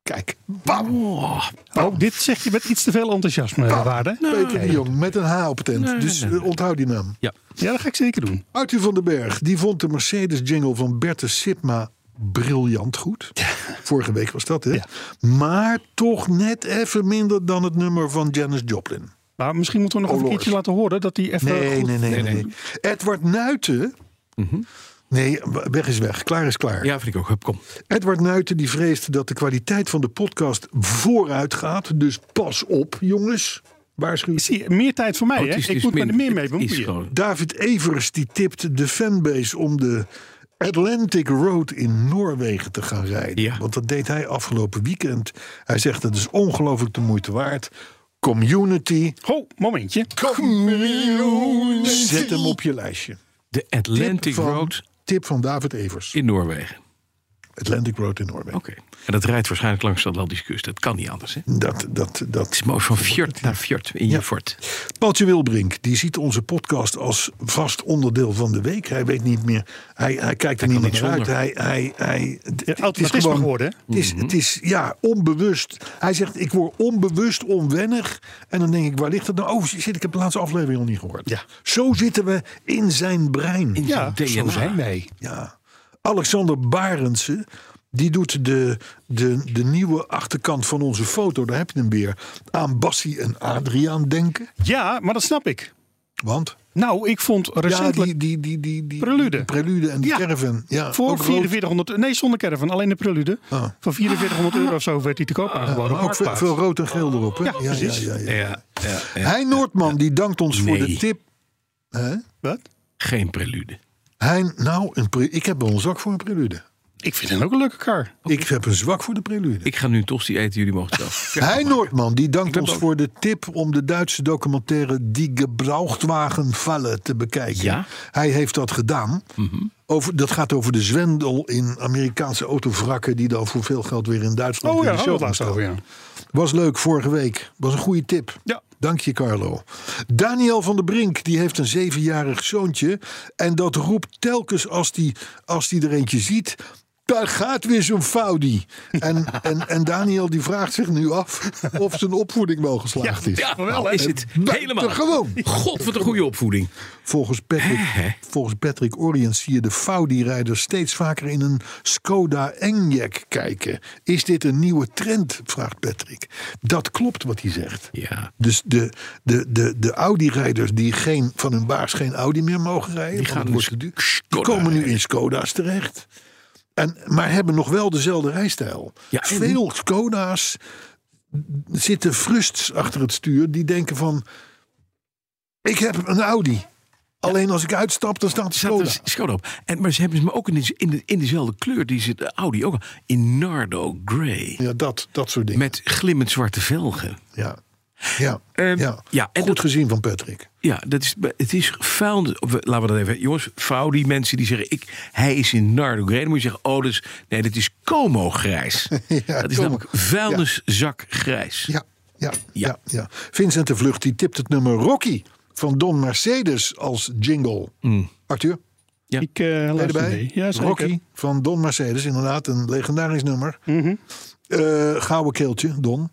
S2: Kijk, bam,
S6: Oh,
S4: Oh, dit zeg je met iets te veel enthousiasme,
S2: Ah,
S4: Waarde.
S2: Peter de Jong met een H op het eind.
S6: Nee,
S2: dus
S6: nee, nee.
S2: eh, onthoud die naam.
S4: Ja, dat ga ik zeker doen.
S2: Arthur van den Berg, die vond de Mercedes-jingle van Berthe Sipma briljant goed. Vorige week was dat, hè? Maar toch net even minder dan het nummer van Janis Joplin.
S4: Maar misschien moeten we nog
S2: Oh,
S4: even een
S2: Lord.
S4: keertje laten horen dat die even.
S2: Nee,
S4: goed-
S2: nee, nee, nee, nee. Mhm. Edward Nuiten. Nee, weg is weg. Klaar is klaar.
S6: ja, vind ik ook. Hup, kom.
S2: Edward Nuiten die vreest dat de kwaliteit van de podcast vooruit gaat. Dus pas op, jongens. Waarschuw.
S4: Zie je, meer tijd voor mij,
S6: Oh, het
S4: hè?
S6: is-
S4: Ik
S6: is
S4: moet me
S6: min-
S4: er meer mee
S6: het is
S4: bemoeien.
S6: gewoon-
S2: David Evers die tipt de fanbase om de Atlantic Road in Noorwegen te gaan rijden.
S6: Ja.
S2: Want dat deed hij afgelopen weekend. Hij zegt dat is ongelooflijk de moeite waard. Community,
S4: Ho, momentje.
S2: zet hem op je lijstje.
S6: De Atlantic
S2: van-
S6: Road
S2: Tip van David Evers.
S6: in Noorwegen.
S2: Atlantic Road in Noorwegen.
S6: Oké. En dat rijdt waarschijnlijk langs de Atlantische kust. Dat kan niet anders, hè? Het
S2: Dat, dat, dat
S6: is mooi van fjord naar fjord in je fort.
S2: Patje Wilbrink, die ziet onze podcast als vast onderdeel van de week. Hij weet niet meer, hij, hij kijkt er niet
S6: kan
S2: meer
S6: niet
S2: uit.
S6: zonder.
S2: Hij, hij, hij, het-
S4: Ja,
S2: het is
S4: automatisme
S2: gewoon
S4: geworden, hè?
S2: Het is, het is ja, onbewust. Hij zegt, ik word onbewust onwennig. En dan denk ik, waar ligt het nou? Oh, shit, ik heb de laatste aflevering nog niet gehoord.
S4: Ja.
S2: Zo zitten we in zijn brein.
S6: In
S4: Ja,
S6: zijn
S4: zo
S6: DNA.
S4: zijn wij.
S2: Ja. Alexander Barendse, die doet de, de, de nieuwe achterkant van onze foto, daar heb je hem weer, aan Bassie en Adriaan denken.
S4: Ja, maar dat snap ik.
S2: Want?
S4: Nou, ik vond recentelijk...
S2: Ja, die, die, die, die, die
S4: Prelude.
S2: die Prelude en die
S4: Ja.
S2: caravan. Ja,
S4: Voor
S2: ook rood.
S4: 4400, nee zonder caravan, alleen de prelude.
S2: Ah.
S4: Van 4400 euro of zo werd die te koop aangeboden.
S2: Maar
S4: op
S2: ook veel,
S4: Marktplaats.
S2: veel rood en geel erop. Hè?
S4: Ja, precies.
S2: ja.
S6: Ja, ja, ja.
S2: Hein Noordman, die dankt ons voor de
S6: Nee.
S2: tip. Hè?
S4: Wat?
S6: Geen prelude.
S2: Hein, nou, een pre- ik heb wel een zwak voor een prelude.
S4: Ik vind hem ook een leuke kar.
S2: Ik heb een zwak voor de prelude.
S6: Ik ga nu toch die eten, jullie mogen het zelf. Ja,
S2: Hein Noordman, die dankt
S6: ben
S2: ons
S6: boos.
S2: voor de tip om de Duitse documentaire Die Gebrauchtwagen Vallen te bekijken.
S6: Ja. Mhm.
S2: Hij heeft dat gedaan. Over, dat gaat over de zwendel in Amerikaanse autovrakken... die dan voor veel geld weer in Duitsland
S4: Oh ja,
S2: in de
S4: hadden we
S2: show
S4: het laatst
S2: staan.
S4: over, ja.
S2: Was leuk vorige week. Was een goede tip.
S4: Ja.
S2: Dank je, Carlo. Daniel van der Brink, die heeft een zevenjarig zoontje. En dat roept telkens als die, als die er eentje ziet... Daar gaat weer zo'n foudie. En, en, en Daniel die vraagt zich nu af of zijn opvoeding wel geslaagd is.
S6: ja,
S4: wel, hè?
S6: is het helemaal.
S2: Buitengewoon.
S6: God, wat een goede opvoeding.
S2: Volgens Patrick, volgens Patrick Orient zie je de Faudi-rijders steeds vaker in een Skoda Enyaq kijken. Is dit een nieuwe trend? vraagt Patrick. Dat klopt wat hij zegt.
S6: Ja.
S2: Dus de, de, de, de Audi-rijders die geen, van hun baas geen Audi meer mogen rijden, want
S6: gaan
S2: het
S6: nu
S2: wordt te duur, die
S6: Skoda
S2: komen nu
S6: rijden.
S2: in Skoda's terecht. En, maar hebben nog wel dezelfde rijstijl.
S6: Ja, en-
S2: Veel Skoda's zitten frusts achter het stuur die denken van... Ik heb een Audi. Alleen als ik uitstap, dan staat de
S6: Staat
S2: Skoda.
S6: er Skoda op. En, maar ze hebben ze me ook in, de, in, de, in dezelfde kleur. Die zit de Audi ook al. In Nardo Grey.
S2: Ja, dat, dat soort dingen.
S6: Met glimmend zwarte velgen.
S2: Ja. Ja.
S6: Ehm,
S2: ja.
S6: ja, en
S2: Goed
S6: dat-
S2: gezien van Patrick.
S6: Ja, dat is, het is vuil. we- Laten we dat even. Jongens, vuil die mensen die zeggen: ik, hij is in Nardo Grey. Dan moet je zeggen: oh, dus, nee, dat is Como grijs. dat is
S2: Como.
S6: namelijk vuilniszak grijs.
S2: Ja, ja, ja. ja, Vincent de Vlucht die tipt het nummer Rocky van Don Mercedes als jingle. Arthur,
S4: Ik eh
S2: ben
S4: luister
S2: je erbij?
S4: mee. Ja, zeker.
S2: Rocky van Don Mercedes, inderdaad een legendarisch nummer. Eh, gouden keeltje, Don.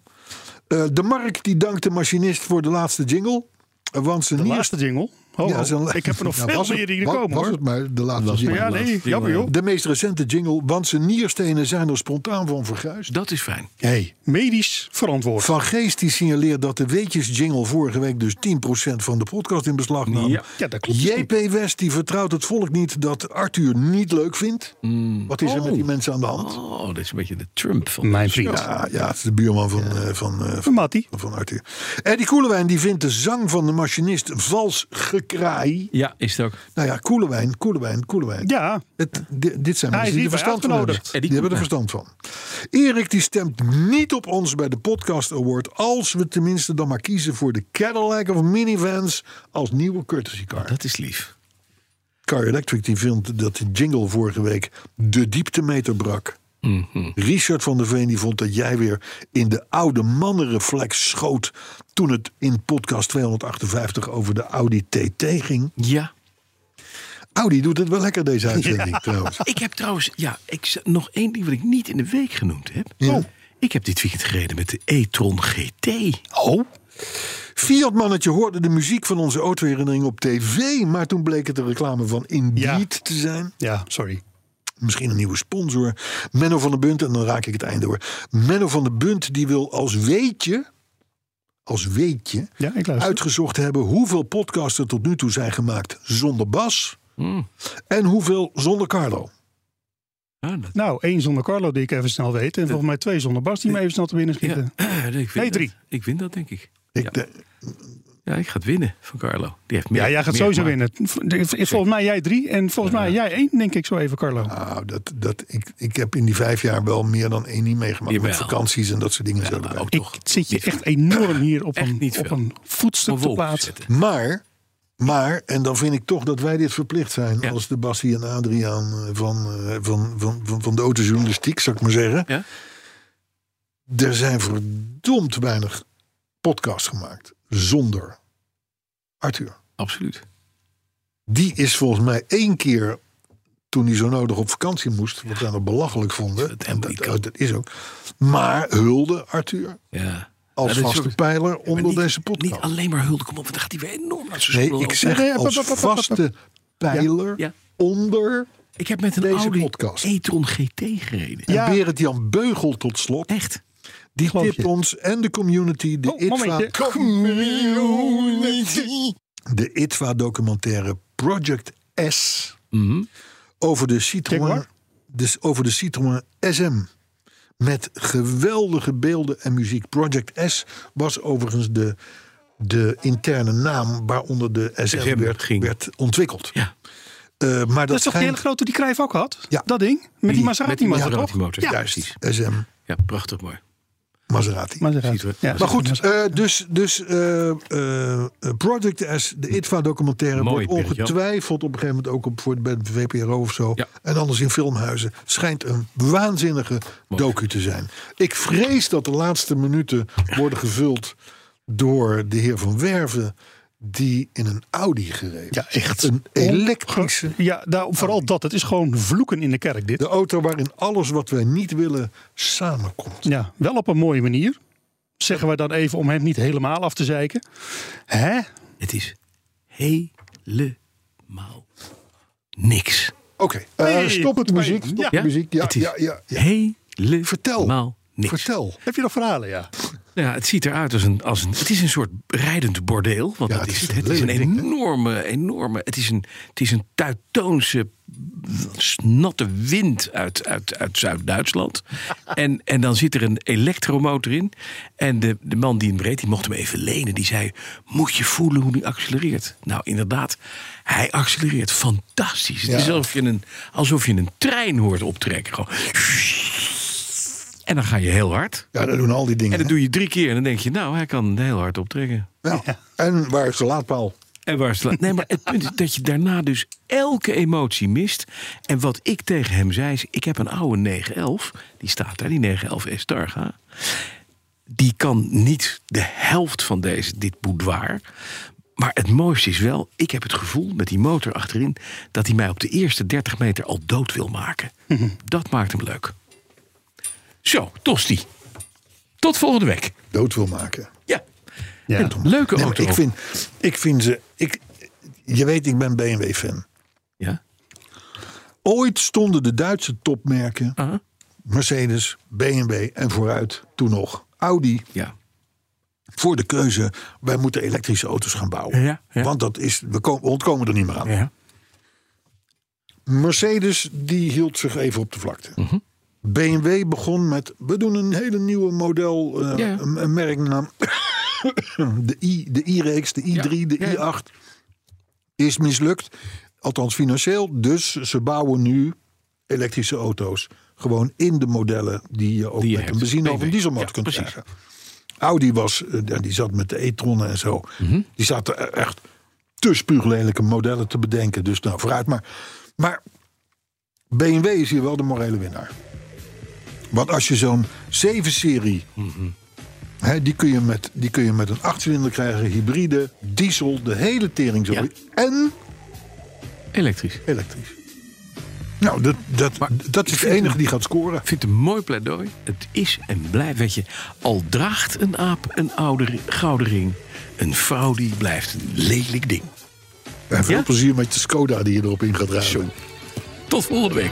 S2: Eh, de Mark die dankt de machinist voor de laatste jingle. eh, Want zijn
S4: De
S2: nier-
S4: laatste jingle. Ho,
S2: Ja,
S4: ho.
S2: zijn-
S4: Ik heb er nog
S2: Ja,
S4: veel
S2: was het-
S4: meer die er
S2: wa-
S4: komen
S2: Was
S4: hoor.
S2: het maar de laatste jingle.
S4: Ja, nee,
S6: laatste
S4: jammer
S6: jingle,
S4: joh.
S2: De meest recente jingle, want zijn nierstenen zijn er spontaan van verguisd.
S6: Dat is fijn.
S4: Hey, medisch verantwoord.
S2: Van Geest die signaleert dat de Weetjes jingle vorige week dus 10% van de podcast in beslag nam.
S6: Ja.
S4: Ja, dat klopt. dus niet.
S2: JP West die vertrouwt het volk niet dat Arthur niet leuk vindt. Wat is er
S6: Oh.
S2: met die mensen aan de hand?
S6: Oh, dat is een beetje de Trump van.
S4: Mijn vriend.
S2: Ja, ja, het is de buurman van, eh, van, eh,
S4: Van Mattie.
S2: van Arthur. Eddie Koelewijn die vindt de zang van de machinist vals gekraai.
S6: Ja, is het ook.
S2: Nou ja, Koelewijn, Koelewijn, Koelewijn.
S4: Ja,
S2: Het, di- dit zijn mensen die
S4: Hij is
S2: er
S4: hierbij
S2: verstand van hebben.
S4: uitgenodigd.
S6: Eddie
S2: Die hebben er
S6: Koelewijn.
S2: verstand van. Erik die stemt niet op ons bij de Podcast Award... als we tenminste dan maar kiezen voor de Cadillac of minivans... als nieuwe courtesy car.
S6: Dat is lief.
S2: Car Electric die vindt dat de jingle vorige week de dieptemeter brak. Richard van der Veen die vond dat jij weer in de oude mannenreflex schoot... toen het in podcast 258 over de Audi TT ging.
S6: Ja.
S2: Audi doet het wel lekker deze uitzending trouwens.
S6: Ik heb trouwens, ja, ik, z- nog één ding wat ik niet in de week genoemd heb.
S2: Ja.
S6: Oh, ik heb dit weekend gereden met de e-tron GT.
S2: Oh. Fiat-mannetje hoorde de muziek van onze autoherinnering op tv... maar toen bleek het de reclame van Indeed te zijn.
S4: ja, sorry.
S2: Misschien een nieuwe sponsor. Menno van der Bunt, en dan raak ik het einde door. Menno van der Bunt die wil als weetje... als weetje
S4: Ja, ik luister.
S2: uitgezocht hebben... hoeveel podcasts er tot nu toe zijn gemaakt zonder Bas...
S6: Mm.
S2: en hoeveel zonder Carlo.
S6: Ah, dat,
S4: Nou, één zonder Carlo die ik even snel weet. En volgens mij twee zonder Bas die me even snel te binnen
S6: ja,
S4: schieten.
S6: ik win
S4: Nee,
S6: dat.
S4: drie.
S6: Ik win dat, denk ik.
S2: Ik eh,
S6: Ja.
S2: de-
S6: Ja, ik ga het winnen van Carlo. Die heeft meer,
S4: Ja, jij gaat
S6: meer
S4: sowieso
S6: gemaakt.
S4: winnen. V- Volgens mij jij drie en volgens mij jij één, denk ik zo even, Carlo.
S2: nou, dat, dat, ik, ik heb in die vijf jaar wel meer dan één niet meegemaakt. Met
S6: Jawel.
S2: vakanties en dat soort dingen. zo
S6: Maar
S2: erbij.
S6: ook
S4: Ik
S6: toch.
S4: zit je echt enorm hier op
S6: Echt
S4: een,
S6: niet
S4: op
S6: veel.
S4: een voetstuk
S6: Op een
S4: te
S6: wolk
S4: plaatsen.
S6: zetten.
S2: Maar, maar, en dan vind ik toch dat wij dit verplicht zijn.
S6: Ja.
S2: Als de Bassie en Adriaan eh, van, eh, van, van, van, van de autojournalistiek, zou ik maar zeggen.
S6: Ja?
S2: Er zijn verdomd weinig podcasts gemaakt zonder Arthur.
S6: Absoluut.
S2: Die is volgens mij één keer toen hij zo nodig op vakantie moest. Wat wij nog belachelijk vonden.
S6: dat
S2: en
S6: helemaal
S2: dat,
S6: niet kan.
S2: dat is ook. Maar hulde Arthur
S6: Ja.
S2: als
S6: Ja, dat is
S2: vaste
S6: ook-
S2: pijler onder
S6: Maar niet-
S2: deze podcast.
S6: Niet alleen maar hulde, kom op, want dan gaat hij weer enorm naar zijn
S2: nee,
S6: schoenen
S2: ik
S6: lopen.
S2: zeg
S4: Nee, nee,
S2: als
S4: pap, pap, pap, pap, pap.
S2: vaste pijler
S6: Ja.
S2: onder...
S6: Ik heb met een
S2: Deze
S6: Audi
S2: podcast.
S6: e-tron GT gereden.
S2: En
S4: Ja.
S2: Berend Jan Beugel tot slot.
S6: Echt.
S2: Die
S4: geloof
S2: tipt
S4: je.
S2: ons en de community de
S4: Oh,
S2: ITVA
S4: momentje.
S2: community de ITWA-documentaire Project S over de Citroën,
S4: Jaguar?
S2: dus over de Citroën SM. Met geweldige beelden en muziek. Project S was overigens de, de interne naam waaronder de SM,
S6: SM
S2: werd,
S6: ging.
S2: werd ontwikkeld.
S6: Ja.
S2: Eh, maar dat,
S4: Dat is toch de hele
S2: schijnt-
S4: grote die Cruijff ook had?
S2: Ja.
S4: Dat ding? Met die Maserati
S6: Met die
S4: motor, toch?
S6: Maserati-motor,
S4: Ja.
S6: precies.
S2: SM
S6: Ja, prachtig mooi.
S2: Maserati.
S4: Maserati.
S6: Citroën.
S4: Ja.
S2: Maar goed, eh, dus, dus eh, eh, Project S, de ITVA-documentaire,
S6: Mooi,
S2: wordt
S6: Peter-Jan.
S2: ongetwijfeld op een gegeven moment ook op, voor, bij de VPRO of zo.
S6: Ja.
S2: En anders in filmhuizen. Schijnt een waanzinnige docu te zijn. Ik vrees dat de laatste minuten worden gevuld door de heer Van Werven, die in een Audi gereden.
S4: Ja, echt.
S2: Een elektrische.
S4: Ja, nou, vooral dat. Het is gewoon vloeken in de kerk, dit.
S2: De auto waarin alles wat wij niet willen samenkomt.
S4: Ja, wel op een mooie manier. Zeggen wij dan even om hem niet helemaal af te zeiken. Hè?
S6: Het is helemaal niks.
S2: Oké, eh,
S4: Hey,
S2: stop het muziek. Stop
S4: ja.
S2: de muziek. Ja,
S6: Het is
S2: ja, ja, ja.
S6: Helemaal
S2: Vertel.
S6: niks.
S2: Vertel.
S4: Heb je nog verhalen, ja?
S6: Nou ja, het ziet eruit als een, als een. Het is een soort rijdend bordeel. Want
S2: Ja,
S6: dat
S2: het is
S6: is, het,
S2: een
S6: het is een
S2: lelijk ding, hè?
S6: enorme, enorme. Het is een, het is een tuitoonse. natte wind uit, uit, uit Zuid-Duitsland. en, en dan zit er een elektromotor in. En de, de man die hem reed, die mocht hem even lenen. Die zei: Moet je voelen hoe die accelereert? Nou, inderdaad, hij accelereert fantastisch. Het is alsof je, een, alsof je een trein hoort optrekken. Gewoon. En dan ga je heel hard.
S2: Ja, dat doen al die dingen.
S6: En dat doe je drie keer en dan denk je, nou, hij kan heel hard optrekken.
S2: Nou, En waar is de laadpaal?
S6: En waar sla- Nee, maar het punt is dat je daarna dus elke emotie mist. En wat ik tegen hem zei is, ik heb een oude 911. Die staat daar, die 911 Estarga. Die kan niet de helft van deze, dit boudoir. Maar het mooiste is wel, ik heb het gevoel met die motor achterin... dat hij mij op de eerste 30 meter al dood wil maken. Dat maakt hem leuk. Zo, Tosti. Tot volgende week.
S2: Dood wil maken.
S6: Ja.
S4: Ja.
S6: Een leuke
S2: Nee, maar
S6: auto.
S2: ik, vind, ik vind ze. Ik, je weet, ik ben BMW-fan.
S6: Ja.
S2: Ooit stonden de Duitse topmerken.
S6: Aha.
S2: Mercedes, BMW en vooruit toen nog Audi.
S6: Ja.
S2: Voor de keuze, wij moeten elektrische auto's gaan bouwen.
S6: Ja, ja.
S2: Want dat is, we, ko- we ontkomen er niet meer aan.
S6: Ja.
S2: Mercedes die hield zich even op de vlakte.
S6: Mhm.
S2: BMW begon met, we doen een hele nieuwe model, eh,
S6: Ja.
S2: een, een merknaam. de, I, de I-reeks, de I3, de
S6: Ja, ja.
S2: I8 is mislukt. Althans financieel, dus ze bouwen nu elektrische auto's. Gewoon in de modellen die je ook
S6: Die je
S2: met een
S6: hebt.
S2: benzine of een
S6: BMW.
S2: dieselmotor
S6: Ja,
S2: kunt
S6: precies.
S2: krijgen. Audi was, eh, ja, die zat met de e-tronnen en zo.
S6: Mhm.
S2: Die zaten e- echt te spuuglelijke modellen te bedenken. Dus nou, vooruit maar. Maar BMW is hier wel de morele winnaar. Want als je zo'n 7-serie... hè, die, kun je met- die kun je met een 8-cilinder krijgen, hybride, diesel, de hele tering. zo.
S6: Ja.
S2: En
S6: Elektrisch. Ik
S2: elektrisch. Nou, dat, dat,
S6: Maar
S2: dat
S6: ik
S2: is de
S6: vind
S2: enige
S6: het-
S2: die gaat scoren.
S6: vind het een mooi pleidooi. Het is en blijft. Weet je, al draagt een aap een oude ri- gouden ring. Een vrouw die blijft een lelijk ding.
S2: En veel
S6: Ja?
S2: plezier met de Skoda die je erop in gaat rijden.
S6: Tot volgende week.